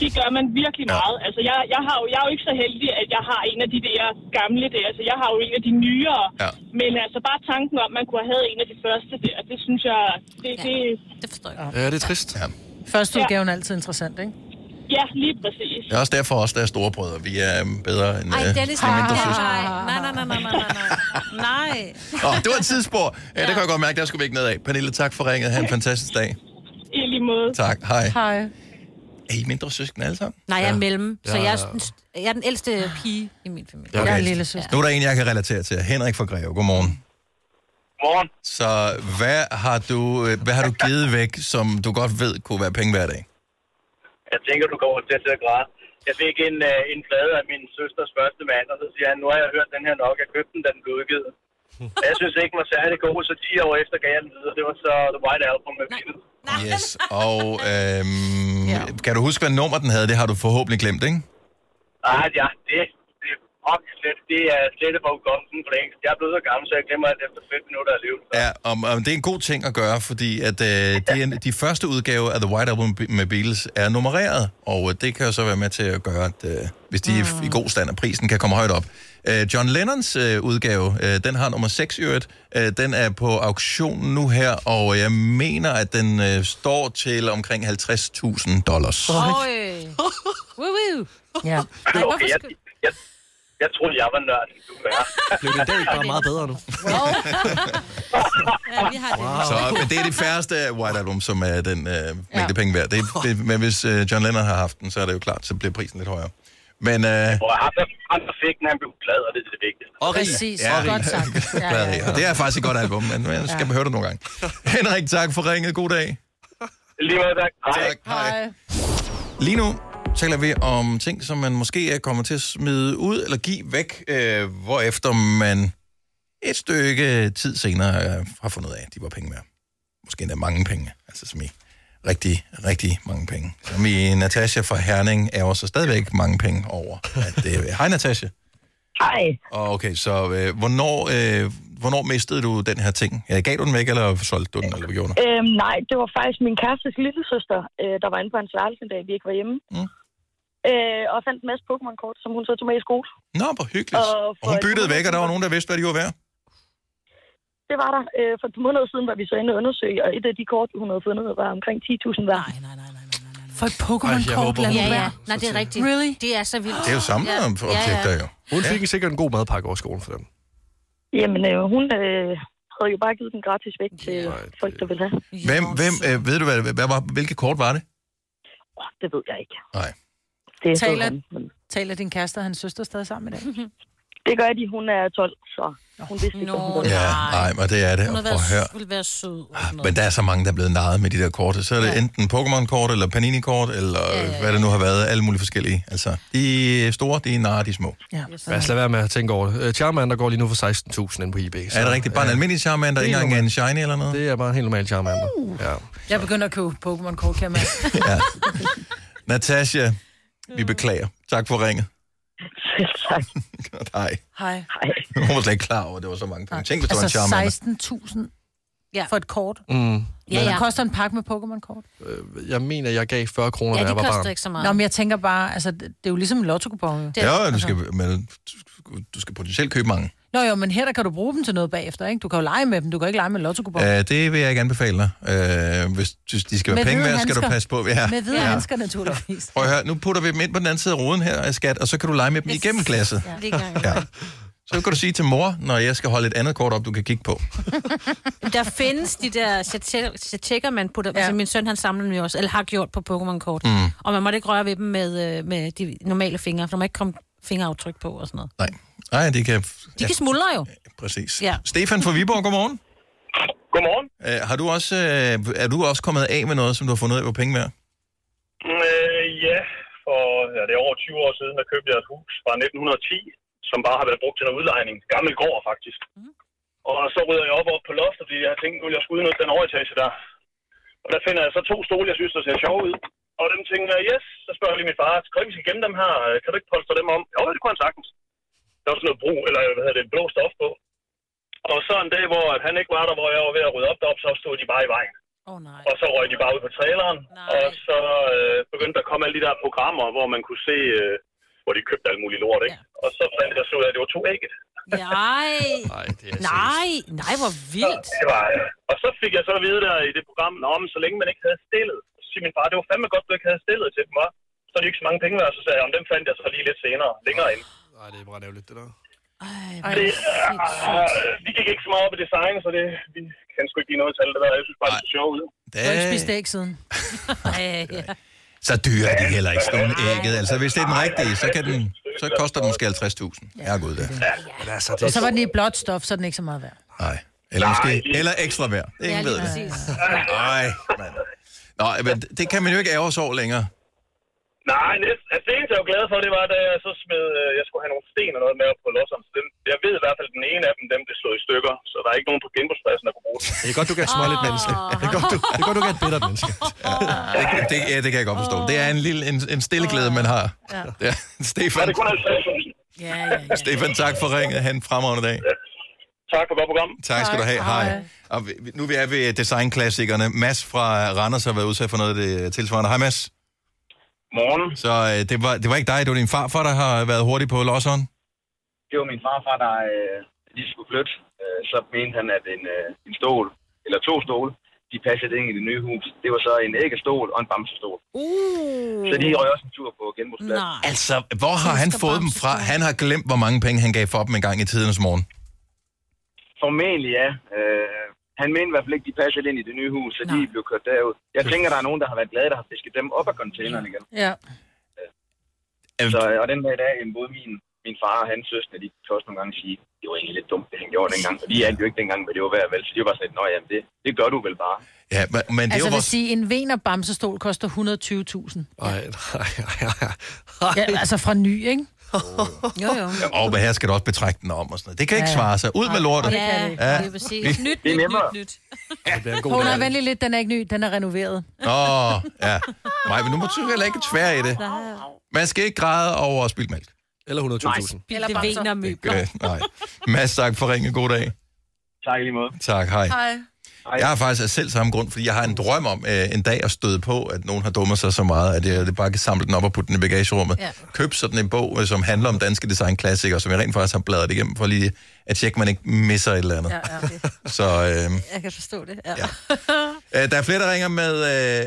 S16: Det gør man virkelig meget. Altså, jeg, jeg, har jo, jeg er jo ikke så heldig, at jeg har en af de der gamle der. Altså, jeg har jo en af de nyere. Ja. Men altså, bare tanken om, at man kunne have havde en af de første der, det synes jeg... Det, ja. det,
S3: det forstår jeg.
S2: Ja, det er trist. Ja.
S4: Første udgaven er altid interessant, ikke?
S16: Ja, lige præcis.
S1: Det er også derfor også, der er storebrødre. Vi er øhm, bedre end,
S3: Ej,
S1: øh,
S3: det er
S1: end
S4: Ah.
S3: ligesom...
S1: mindre
S3: Nej,
S1: søstre.
S3: nej, nej, nej, nej, nej, nej, nej.
S1: Nå, det var et tidsspor. Ja, det kan jeg godt mærke, der skulle vi ikke nedad. Pernille, tak for ringet. Ha' en fantastisk dag.
S16: I lige måde.
S1: Tak. Hej.
S4: Hej.
S1: Er I mindre søskende alle sammen?
S3: Nej, jeg er mellem, så
S1: Ja,
S3: jeg er,
S1: ja, ja.
S3: den, st- jeg er den ældste pige i min familie.
S1: Okay. Nu er der en, jeg kan relatere til. Henrik fra Greve. Godmorgen.
S15: Godmorgen.
S1: Så hvad har du, øh, hvad [LAUGHS] har du givet væk, som du godt ved kunne være penge hver dag?
S15: Jeg tænker, du kommer til at sidde og græde. Jeg fik en, øh, en plade af min søsters første mand, og så siger han, nu har jeg hørt den her nok, jeg købte den, da den blev
S2: [LAUGHS]
S15: udgivet. Og jeg synes ikke, den var særlig god, så 10 år efter gav jeg den videre. Det var så The White Album med Beatles.
S1: Yes, og øhm, ja. kan du huske, hvad nummer den havde? Det har du forhåbentlig glemt, ikke?
S15: Nej, Ah, ja, det, det er faktisk slet, det er slet for ukomsten for længst. Jeg er blevet så gammel, så jeg glemmer alt efter 5 minutter af livet.
S1: Ja, og, og det er en god ting at gøre, fordi at, øh, det er, en- de første udgaver af The White Album med Beatles er nummereret, og øh, det kan jo så være med til at gøre, at øh, hvis de er i god stand, at prisen kan komme højt op. Øh, John Lennons øh, udgave, øh, den har nummer 6 i øvrigt, øh, den er på auktion nu her, og jeg mener, at den øh, står til omkring 50.000 dollars.
S3: Øj. Woo, woo.
S4: Ja.
S3: Ej, hvorfor
S15: Okay, jeg,
S3: skal...
S15: jeg, jeg troede, jeg var nørd, end du er.
S2: Blev det dag bare meget
S15: [LAUGHS]
S2: bedre nu?
S3: Ja, vi har det.
S1: Så, men Ah, det er det færreste af White Album, som er den øh, mængde ja. penge værd. Det, det, men hvis øh, John Lennon har haft den, så er det jo klart, så bliver prisen lidt højere. Men, øh,
S15: Og ham, der, ham, der fik den, han blev glad, og det er det vigtigste.
S1: Og rig. Præcis, Ja, godt [LAUGHS] rig.
S3: [LAUGHS]
S1: sagt.
S15: Ja,
S1: ja, ja. det er faktisk et godt album, men man skal ja. høre det nogle gange. Henrik, tak for ringet. God dag.
S15: Lige måde, tak. Hej.
S1: Tak. Hej. Lige nu taler vi om ting, som man måske er kommet til at smide ud eller give væk, øh, hvorefter man et stykke tid senere øh, har fundet ud af, at de var penge værd. Måske endda mange penge, altså som i rigtig, rigtig mange penge. Som i Natasha fra Herning er også stadigvæk mange penge over. At, øh, hej Natasha.
S17: Hej.
S1: Og Okay, så øh, hvornår, øh, hvornår mistede du den her ting? Ja, gav du den væk, eller solgte du den, eller hvad gjorde du?
S17: Øhm, nej, det var faktisk min kærestes lillesøster, øh, der var inde på hans værelse en dag, vi ikke var hjemme.
S1: Mm.
S17: Øh, og fandt en masse Pokémon-kort, som hun så tog med i skole.
S1: Nå, hvor hyggeligt.
S17: Og
S1: Og hun
S17: for-
S1: byttede væk, og der var nogen, der vidste, hvad de var værd.
S17: Det var der. Øh, for et par måneder siden var vi så inde og undersøge, og et af de kort, hun havde fundet, var omkring 10.000 værd. Nej, nej, nej.
S4: For et
S2: Ej, jeg
S4: Pokémon-kort,
S2: håber,
S4: lad nu
S2: hun-
S4: være.
S3: Nej, det er rigtigt.
S4: Really?
S3: Det er så vildt.
S1: Det er jo samme
S3: Ja.
S1: om- objekter, jo.
S2: Hun fik sikkert en god madpakke over skolen for den.
S17: Jamen, øh, hun øh, havde jo bare givet den gratis væk til folk, der ville have.
S1: Hvem, hvem øh, ved du, hvad, hvad var, hvilke kort var det?
S17: Oh, det ved jeg ikke.
S1: Nej.
S17: Det er
S4: Taler,
S17: sådan,
S4: taler din kæreste og hans søster stadig sammen i dag?
S17: [LAUGHS] Det gør de. Hun er 12, så hun vidste ikke,
S4: Nå,
S17: no, hun ville.
S1: Ja, nej, men det er det.
S3: Hun
S1: Og
S3: har
S1: prøv at høre.
S3: været, ville være sød.
S1: Men der er så mange, der er blevet narret med de der kort. Så er det enten Pokémon-kort, eller Panini-kort, eller ja, ja, ja. hvad det nu har været. Alle mulige forskellige. Altså, de store, de narrer de små.
S4: Ja.
S2: Lad os lade være med at tænke over det. Øh, Charmander går lige nu for 16.000 inde på eBay.
S1: Er det rigtigt? Bare en almindelig Charmander, ikke engang en shiny eller noget?
S2: Det er bare en helt normal Charmander. Ja.
S4: Jeg begynder at købe Pokémon-kort,
S17: [LAUGHS]
S4: kan man.
S1: Natasha,
S4: Mm.
S1: vi beklager. Tak for ringet. [LAUGHS]
S17: tak.
S1: Godt, hej.
S4: Hej.
S1: Hun var slet ikke klar over, at det var så mange penge. Tænk, hvis det var en
S4: Altså
S1: Charmander.
S4: 16.000 ja. for et kort.
S2: Mm.
S4: Ja, ja. Det koster en pakke med Pokémon-kort.
S2: Øh, Jeg mener, jeg gav 40 kroner, da jeg var barn.
S4: Nå, men jeg tænker bare, altså, det, det er jo ligesom en lotto jo.
S1: Ja, jo, du
S6: Altså.
S1: skal, men, du skal potentielt købe mange.
S4: Nå jo, men her der kan du bruge dem til noget bagefter, ikke? Du kan jo lege med dem, du kan ikke lege med en lotto
S1: Uh, det vil jeg ikke anbefale dig. Uh, hvis, hvis de skal være penge værd, skal du passe på.
S4: Ja. Med hvide ja. handsker,
S1: [LAUGHS]
S4: naturligvis.
S1: Prøv at høre, nu putter vi dem ind på den anden side af ruden her, øh, skat, og så kan du lege med dem igennem glasset.
S3: Det gør jeg.
S1: Ja. Så kan du sige til mor, når jeg skal holde et andet kort op, du kan kigge på.
S3: [LAUGHS] Der findes de der chatekker, man putter... Ja. Altså, min søn, han samler dem jo også, eller har gjort på Pokémon-kort.
S1: Mm.
S3: Og man må ikke røre ved dem med, øh, med de normale fingre, for der må ikke komme fingeraftryk på og sådan noget.
S1: Nej, Nej de kan...
S3: De kan smuldre jo.
S1: Præcis. [LAUGHS]
S3: Ja.
S1: Stefan fra Viborg, godmorgen.
S15: Godmorgen.
S1: Uh, har du også, uh, er du også kommet af med noget, som du har fundet ud af, hvor penge værd?
S15: Øh, ja, for ja, det er over 20 år siden, der købte jeg et hus fra 1910, som bare har været brugt til noget udlejning. Gammel gård, faktisk. Mm. Og så rydder jeg op op på loftet, fordi jeg tænkte, nu vil jeg skulle udnytte den overetage der. Og der finder jeg så to stole, jeg synes, der ser sjove ud. Og dem tænker jeg, yes, så spørger jeg lige min far, kan du ikke vi skal gemme dem her? Kan du ikke polstre dem om? Jo, det kunne han sagtens. Der var sådan noget brug, eller hvad hedder det, blå stof på. Og så en dag, hvor at han ikke var der, hvor jeg var ved at rydde op deroppe, så stod de bare i vejen.
S4: Oh, nej.
S15: Og så røg de bare ud på traileren, nej. og så øh, begyndte der at komme alle de der programmer, hvor man kunne se, øh, hvor de købte alle mulige lort, ikke? Ja. Og så fandt jeg så ud af, at det var to ægget.
S3: Nej.
S2: nej,
S3: nej, nej, hvor vildt.
S15: Det var, øh, og så fik jeg så at vide der i det program, om så længe man ikke havde stillet, så siger min far, det var fandme godt, du ikke havde stillet til dem, hva'? Så er de ikke så mange penge værd, så sagde jeg, om dem fandt jeg så lige lidt senere, længere ind.
S2: Nej, det er bare nævligt, det der.
S15: Ej, det, øh, vi gik ikke så meget op i design, så det, vi kan sgu ikke lige noget tal det der. Jeg synes bare, det er sjovt ud.
S4: Du har ikke spist æg
S1: [LAUGHS]
S4: siden. Ej, ja.
S1: Så dyre er de heller ikke, sådan nogle ægget. Altså, hvis det er den rigtige, så, kan den, så koster den måske 50.000. Ja, god det.
S2: Men altså,
S4: Og så var den i blåt stof, så er den ikke så meget værd.
S1: Nej. Eller måske, eller ekstra værd.
S4: Ja,
S1: Ingen
S4: lige
S1: ved det. Nej, mand. Nå, men det kan man jo ikke ære os over længere.
S15: Nej, næsten. Altså, det eneste, jeg var glad for, det var, da jeg så smed, øh, jeg skulle have nogle sten og noget med op på losseren. Så den, jeg ved i hvert fald, at den ene af dem, dem blev slået i stykker, så der er ikke nogen på genbrugspladsen, der kunne bruge den.
S2: Det er godt, du kan småle et menneske. Det er godt, du, det er godt, du kan et bittert menneske.
S1: Ja, det, kan- det, ja, det kan jeg godt forstå. Det er en lille en, en stille glæde, man har.
S4: Ja.
S1: Ja, Stefan,
S4: Ja, ja.
S1: Stefan, tak for ringet. Han fremragende dag.
S15: Tak for godt program.
S1: Tak skal du have. Hej. Og vi- vi- nu er vi er ved designklassikerne. Mads fra Randers har været udsat for noget af det tilsvarende. Hej Mads.
S15: Morgen.
S1: Så øh, det, var, det var ikke dig, det var din farfar, der har været hurtig på losseren.
S18: det var min farfar, der øh, lige skulle flytte. Øh, så mente han, at en, øh, en stol, eller to stole, de passede ind i det nye hus. Det var så en æggestol og en bamsestol.
S3: Uh.
S18: Så de røg også en tur på genbrugspladsen.
S3: Nej.
S1: Altså, hvor har han fået dem fra? Han har glemt, hvor mange penge han gav for dem en gang i tidens morgen.
S18: Formentlig ja. Øh, han mente i hvert fald ikke, de passede ind i det nye hus, så de blev kørt derud. Jeg tænker, der er nogen, der har været glade, der har fisket dem op af containeren igen.
S4: Ja.
S18: Så, øh, og den dag i dag, jamen, både min, min far og hans søster, de kan også nogle gange sige, det var egentlig lidt dumt, det han gjorde dengang. Og de er jo ikke dengang, hvad det var værd, vel? Så de var bare sådan, at det, det gør du vel bare.
S1: Ja, men, men det er
S4: Altså,
S1: jo
S4: vil
S1: vores...
S4: sige, en vener bamsestol koster 120.000. Ja, altså fra ny, ikke?
S1: [LAUGHS]
S4: Jo, jo.
S1: Og hvad her skal du også betragte den om og sådan noget. Det kan ikke
S4: Ja, ja.
S1: svare sig. Ud med lortet.
S4: Ja, det er præcis. Nyt, nyt, nyt, nyt.
S1: Det bliver en
S4: Hun er venlig lidt, den er ikke ny, den er renoveret.
S1: Åh, oh, ja. Nej, men nu må du heller ikke tvære i det. Man skal ikke græde over spildt mælk.
S2: Eller 120.000.
S3: Eller det vener møbler.
S1: Okay, nej. Mads, tak for ringe. God dag.
S18: Tak lige måde.
S1: Tak, hej.
S4: Hej.
S1: Jeg har faktisk af selv samme grund, fordi jeg har en drøm om øh, en dag at støde på, at nogen har dummet sig så meget, at jeg bare kan samle den op og putte den i bagagerummet.
S4: Ja.
S1: Køb sådan en bog, øh, som handler om danske designklassikere, som jeg rent faktisk har bladret igennem, for lige at tjekke, at man ikke misser et eller andet.
S6: Ja, ja, det-
S1: Så øh,
S6: Jeg kan forstå det. Ja. [LAUGHS]
S1: øh, der er flere, der ringer med,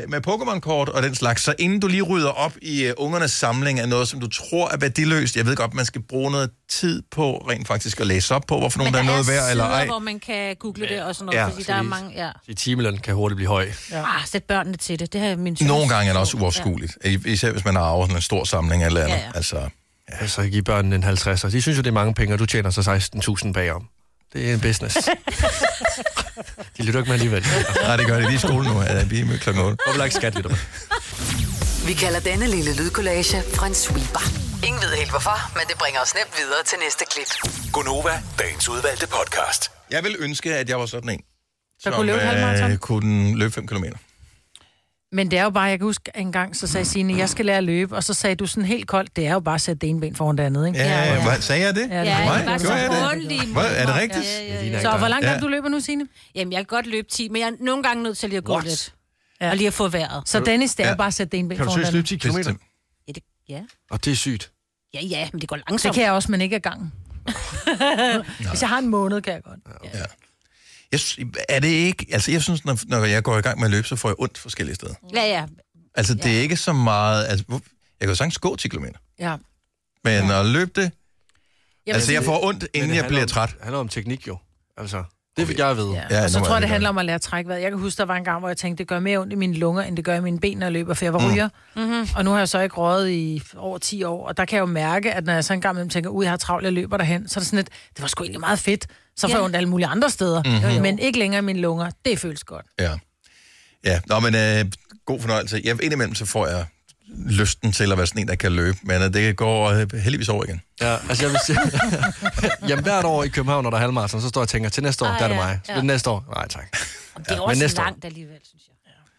S1: øh, med Pokémon-kort og den slags, så inden du lige rydder op i øh, ungernes samling af noget, som du tror er værdiløst, jeg ved godt, man skal bruge noget tid på rent faktisk at læse op på, hvorfor nogen der er noget værd eller
S3: sider,
S1: ej.
S3: hvor man kan google det og sådan noget,
S1: Ja,
S3: ja, fordi der er
S1: præcis.
S3: mange... Ja.
S2: I timeløn kan hurtigt blive høj.
S3: ja. Ah, sæt børnene til det. Det har jeg min søn.
S1: Nogle gange er det også uoverskueligt, ja. især hvis man har arvet sådan en stor samling af et eller andet.
S3: Ja,
S1: Ja,
S3: ja.
S1: ja. Altså,
S2: Ja. Altså, give børnene en 50'er. De synes jo, det er mange penge, og du tjener så 16.000 bagom. Det er en business. De lytter ikke med alligevel.
S1: Nej, det gør de. De er i skole nu. Ja, vi er med klokken 8.
S2: Hvorfor ikke skat, lytter man?
S5: Vi kalder denne lille lydkollage en sweeper. Ingen ved helt hvorfor, men det bringer os nemt videre til næste klip.
S7: Gonova, dagens udvalgte podcast.
S1: jeg vil ønske, at jeg var sådan en,
S4: Der kunne løbe et halvmarathon.
S1: øh, kunne løbe 5 km.
S4: Men det er jo bare, jeg kan huske en gang, så sagde Signe, jeg skal lære at løbe, og så sagde du sådan helt koldt, det er jo bare at sætte det ene ben foran det andet, ikke?
S1: Ja, ja, ja. Hvad, sagde jeg det?
S4: Ja, det
S1: Nej,
S4: var bare
S1: gjorde
S4: så
S1: jeg det?
S3: ordentligt.
S1: Hvad, er det rigtigt?
S4: Så hvor langt
S1: ja.
S4: er det, du løber nu, Signe?
S3: Jamen, jeg kan godt løbe 10, men jeg er nogle gange nødt til lige at gå
S4: What?
S3: lidt. Og lige at få vejret.
S4: Så Dennis, det er jo bare at sætte det ene ben
S2: Kan du
S4: foran det
S2: seriøst løbe
S4: andet.
S2: 10 km?
S3: Ja, det, ja.
S2: Og det er sygt.
S1: Altså,
S3: ja, ja, men det går langsomt.
S4: Det kan jeg også, men ikke af gangen. Hvis jeg har en måned, kan jeg godt.
S1: Jeg, sy- er det ikke... Altså, jeg synes, når, når jeg går i gang med at løbe, så får jeg ondt forskellige steder.
S3: Ja, ja.
S1: Altså, det er ikke så meget... Altså, hvor- jeg kan jo sagtens gå 10 km,
S4: ja.
S1: men at løbe det...
S4: Jamen,
S1: altså, jeg
S4: det-
S1: får ondt, inden
S2: det
S1: jeg bliver
S2: handler
S1: træt.
S2: Det handler om teknik jo. Altså, det fik jeg at vide.
S4: Ja, og så tror jeg, det handler om at lære at trække vejret. Jeg kan huske, der var en gang, hvor jeg tænkte, det gør mere ondt i mine lunger, end det gør i mine ben, når jeg løber, for jeg var
S2: Mm.
S4: ryger. Mm-hmm. Og nu har jeg så ikke røget i over 10 år, og der kan jeg jo mærke, at når jeg så en gang imellem tænker, ud jeg har travlt, jeg løber derhen, så er det sådan et, det var sgu egentlig meget fedt. Så får jeg
S3: Ja.
S4: ondt alle mulige andre steder,
S1: Mhm. Jo, jo.
S4: mm-hmm. men ikke længere i mine lunger. Det føles godt.
S1: Ja. Ja, nå, men øh, god fornøjelse. Jeg, indimellem så får jeg lysten til at være sådan en, der kan løbe, men øh, det går øh, heldigvis over igen.
S2: Ja, altså jeg vil sige,
S3: [LAUGHS]
S2: jamen hvert år i København, når der er halvmarathon, så står jeg og tænker, til næste år,
S3: Ah,
S2: der er det
S3: ja,
S2: mig. Så
S3: ja.
S2: næste år, nej tak.
S3: Det er
S2: Ja,
S3: også langt alligevel, synes jeg.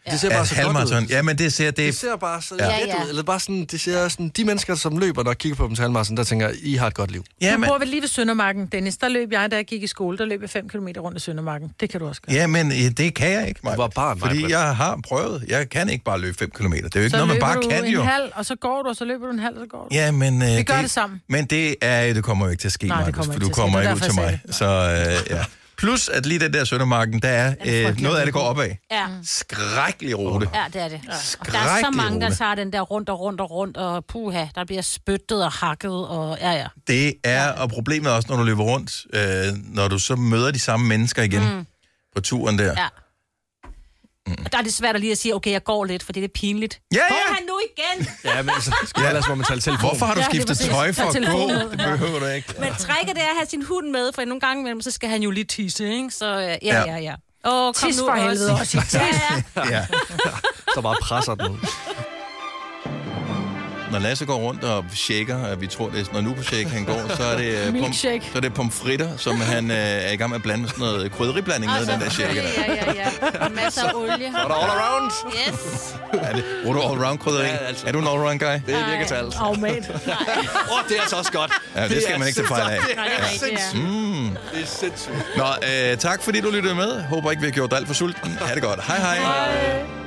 S2: År. Det ser bare
S1: At
S2: så godt
S1: halvmarathon-
S2: ud.
S1: Ja, men det ser, det...
S2: det ser bare så
S1: Ja.
S2: ja.
S3: Ja,
S2: let
S3: ja.
S2: ud. Eller bare sådan, det ser sådan, de mennesker, som løber, når jeg kigger på dem til halvmarathon, der tænker, I har et godt liv.
S4: Ja, du bor vel lige ved Søndermarken, Dennis. Der løb jeg, da jeg gik i skole. Der løb jeg 5 km rundt i Søndermarken. Det kan du også gøre.
S1: Ja, men øh, det kan jeg ikke, Maja. var
S2: barn,
S1: Fordi jeg har prøvet. Jeg kan ikke bare løbe 5 km. Det er jo ikke noget, man
S4: løber
S1: bare
S4: du
S1: kan
S4: en
S1: jo.
S4: halv, og så går du, og så løber du en halv, og så går du.
S1: Ja, men... Øh,
S4: Vi gør det sammen.
S1: Men det, er, det kommer jo ikke til at ske,
S4: Nej, det
S1: Markus,
S4: kommer
S1: for
S4: ikke
S1: du
S4: til at ske.
S1: kommer ikke
S4: Det var
S1: ud til
S4: derfor,
S1: mig. Så øh, ja. Plus, at lige den der Søndermarken, der er øh, noget af det går opad.
S3: Ja.
S4: Mm.
S1: Skrækkelig rute.
S3: Ja, det er det. Og der er så
S1: Skrækkelig
S3: mange, der
S1: rute.
S3: tager den der rundt og rundt og rundt, og puha, der bliver spyttet og hakket, og ja, ja.
S1: Det er, og problemet er også, når du løber rundt, øh, når du så møder de samme mennesker igen mm. på turen der.
S3: ja.
S2: Mm.
S3: Og der er det svært at lige at sige, okay, jeg går lidt, for det er pinligt.
S1: Ja, ja.
S3: Går han nu igen?
S2: Ja, men så skal jeg ellers, hvor man tager telefon.
S1: Hvorfor har du
S3: Ja, det er
S1: skiftet
S3: præcis.
S1: tøj for
S3: Tag
S1: at
S3: telefonen
S1: gå?
S3: ud.
S1: Det behøver du ikke.
S3: Men trækket det er at have sin hund med, for nogle gange imellem, så skal han jo lige tisse, ikke? Så øh, ja,
S1: Ja.
S3: ja, ja. Åh, oh, kom
S4: Tis
S3: nu
S4: for helvede også.
S3: Ja, ja.
S1: Ja.
S2: [LAUGHS] Så bare presser den ud.
S1: Når Lasse går rundt og shaker, og vi tror, det er sådan noget nubeshake, han går, så er [LAUGHS] det, øh, pom-
S4: Milkshake.
S1: så er det pomfritter, som han øh, er i gang med at blande med sådan noget krydderiblanding ned i den der shaker. Der.
S3: Ja, ja,
S1: [LAUGHS]
S3: ja. Masser af olie.
S2: Så er der all around.
S3: Yes.
S1: Er det, bruger du all-round krydderi? Ja, altså. Er du en all-round guy?
S2: Det virker til alt.
S4: Oh, mate.
S2: Åh, oh, det er altså også godt.
S1: Ja, det skal
S2: er
S1: man ikke tage fejl af.
S2: sindssygt.
S1: Nej, det er
S2: Det er
S1: rigtigt,
S2: sindssygt.
S1: Mm.
S2: Det er sindssygt.
S1: Nå, øh, tak fordi du lyttede med. Håber ikke, vi har gjort dig alt for sulten. Ha' det godt. Hej hej. hej.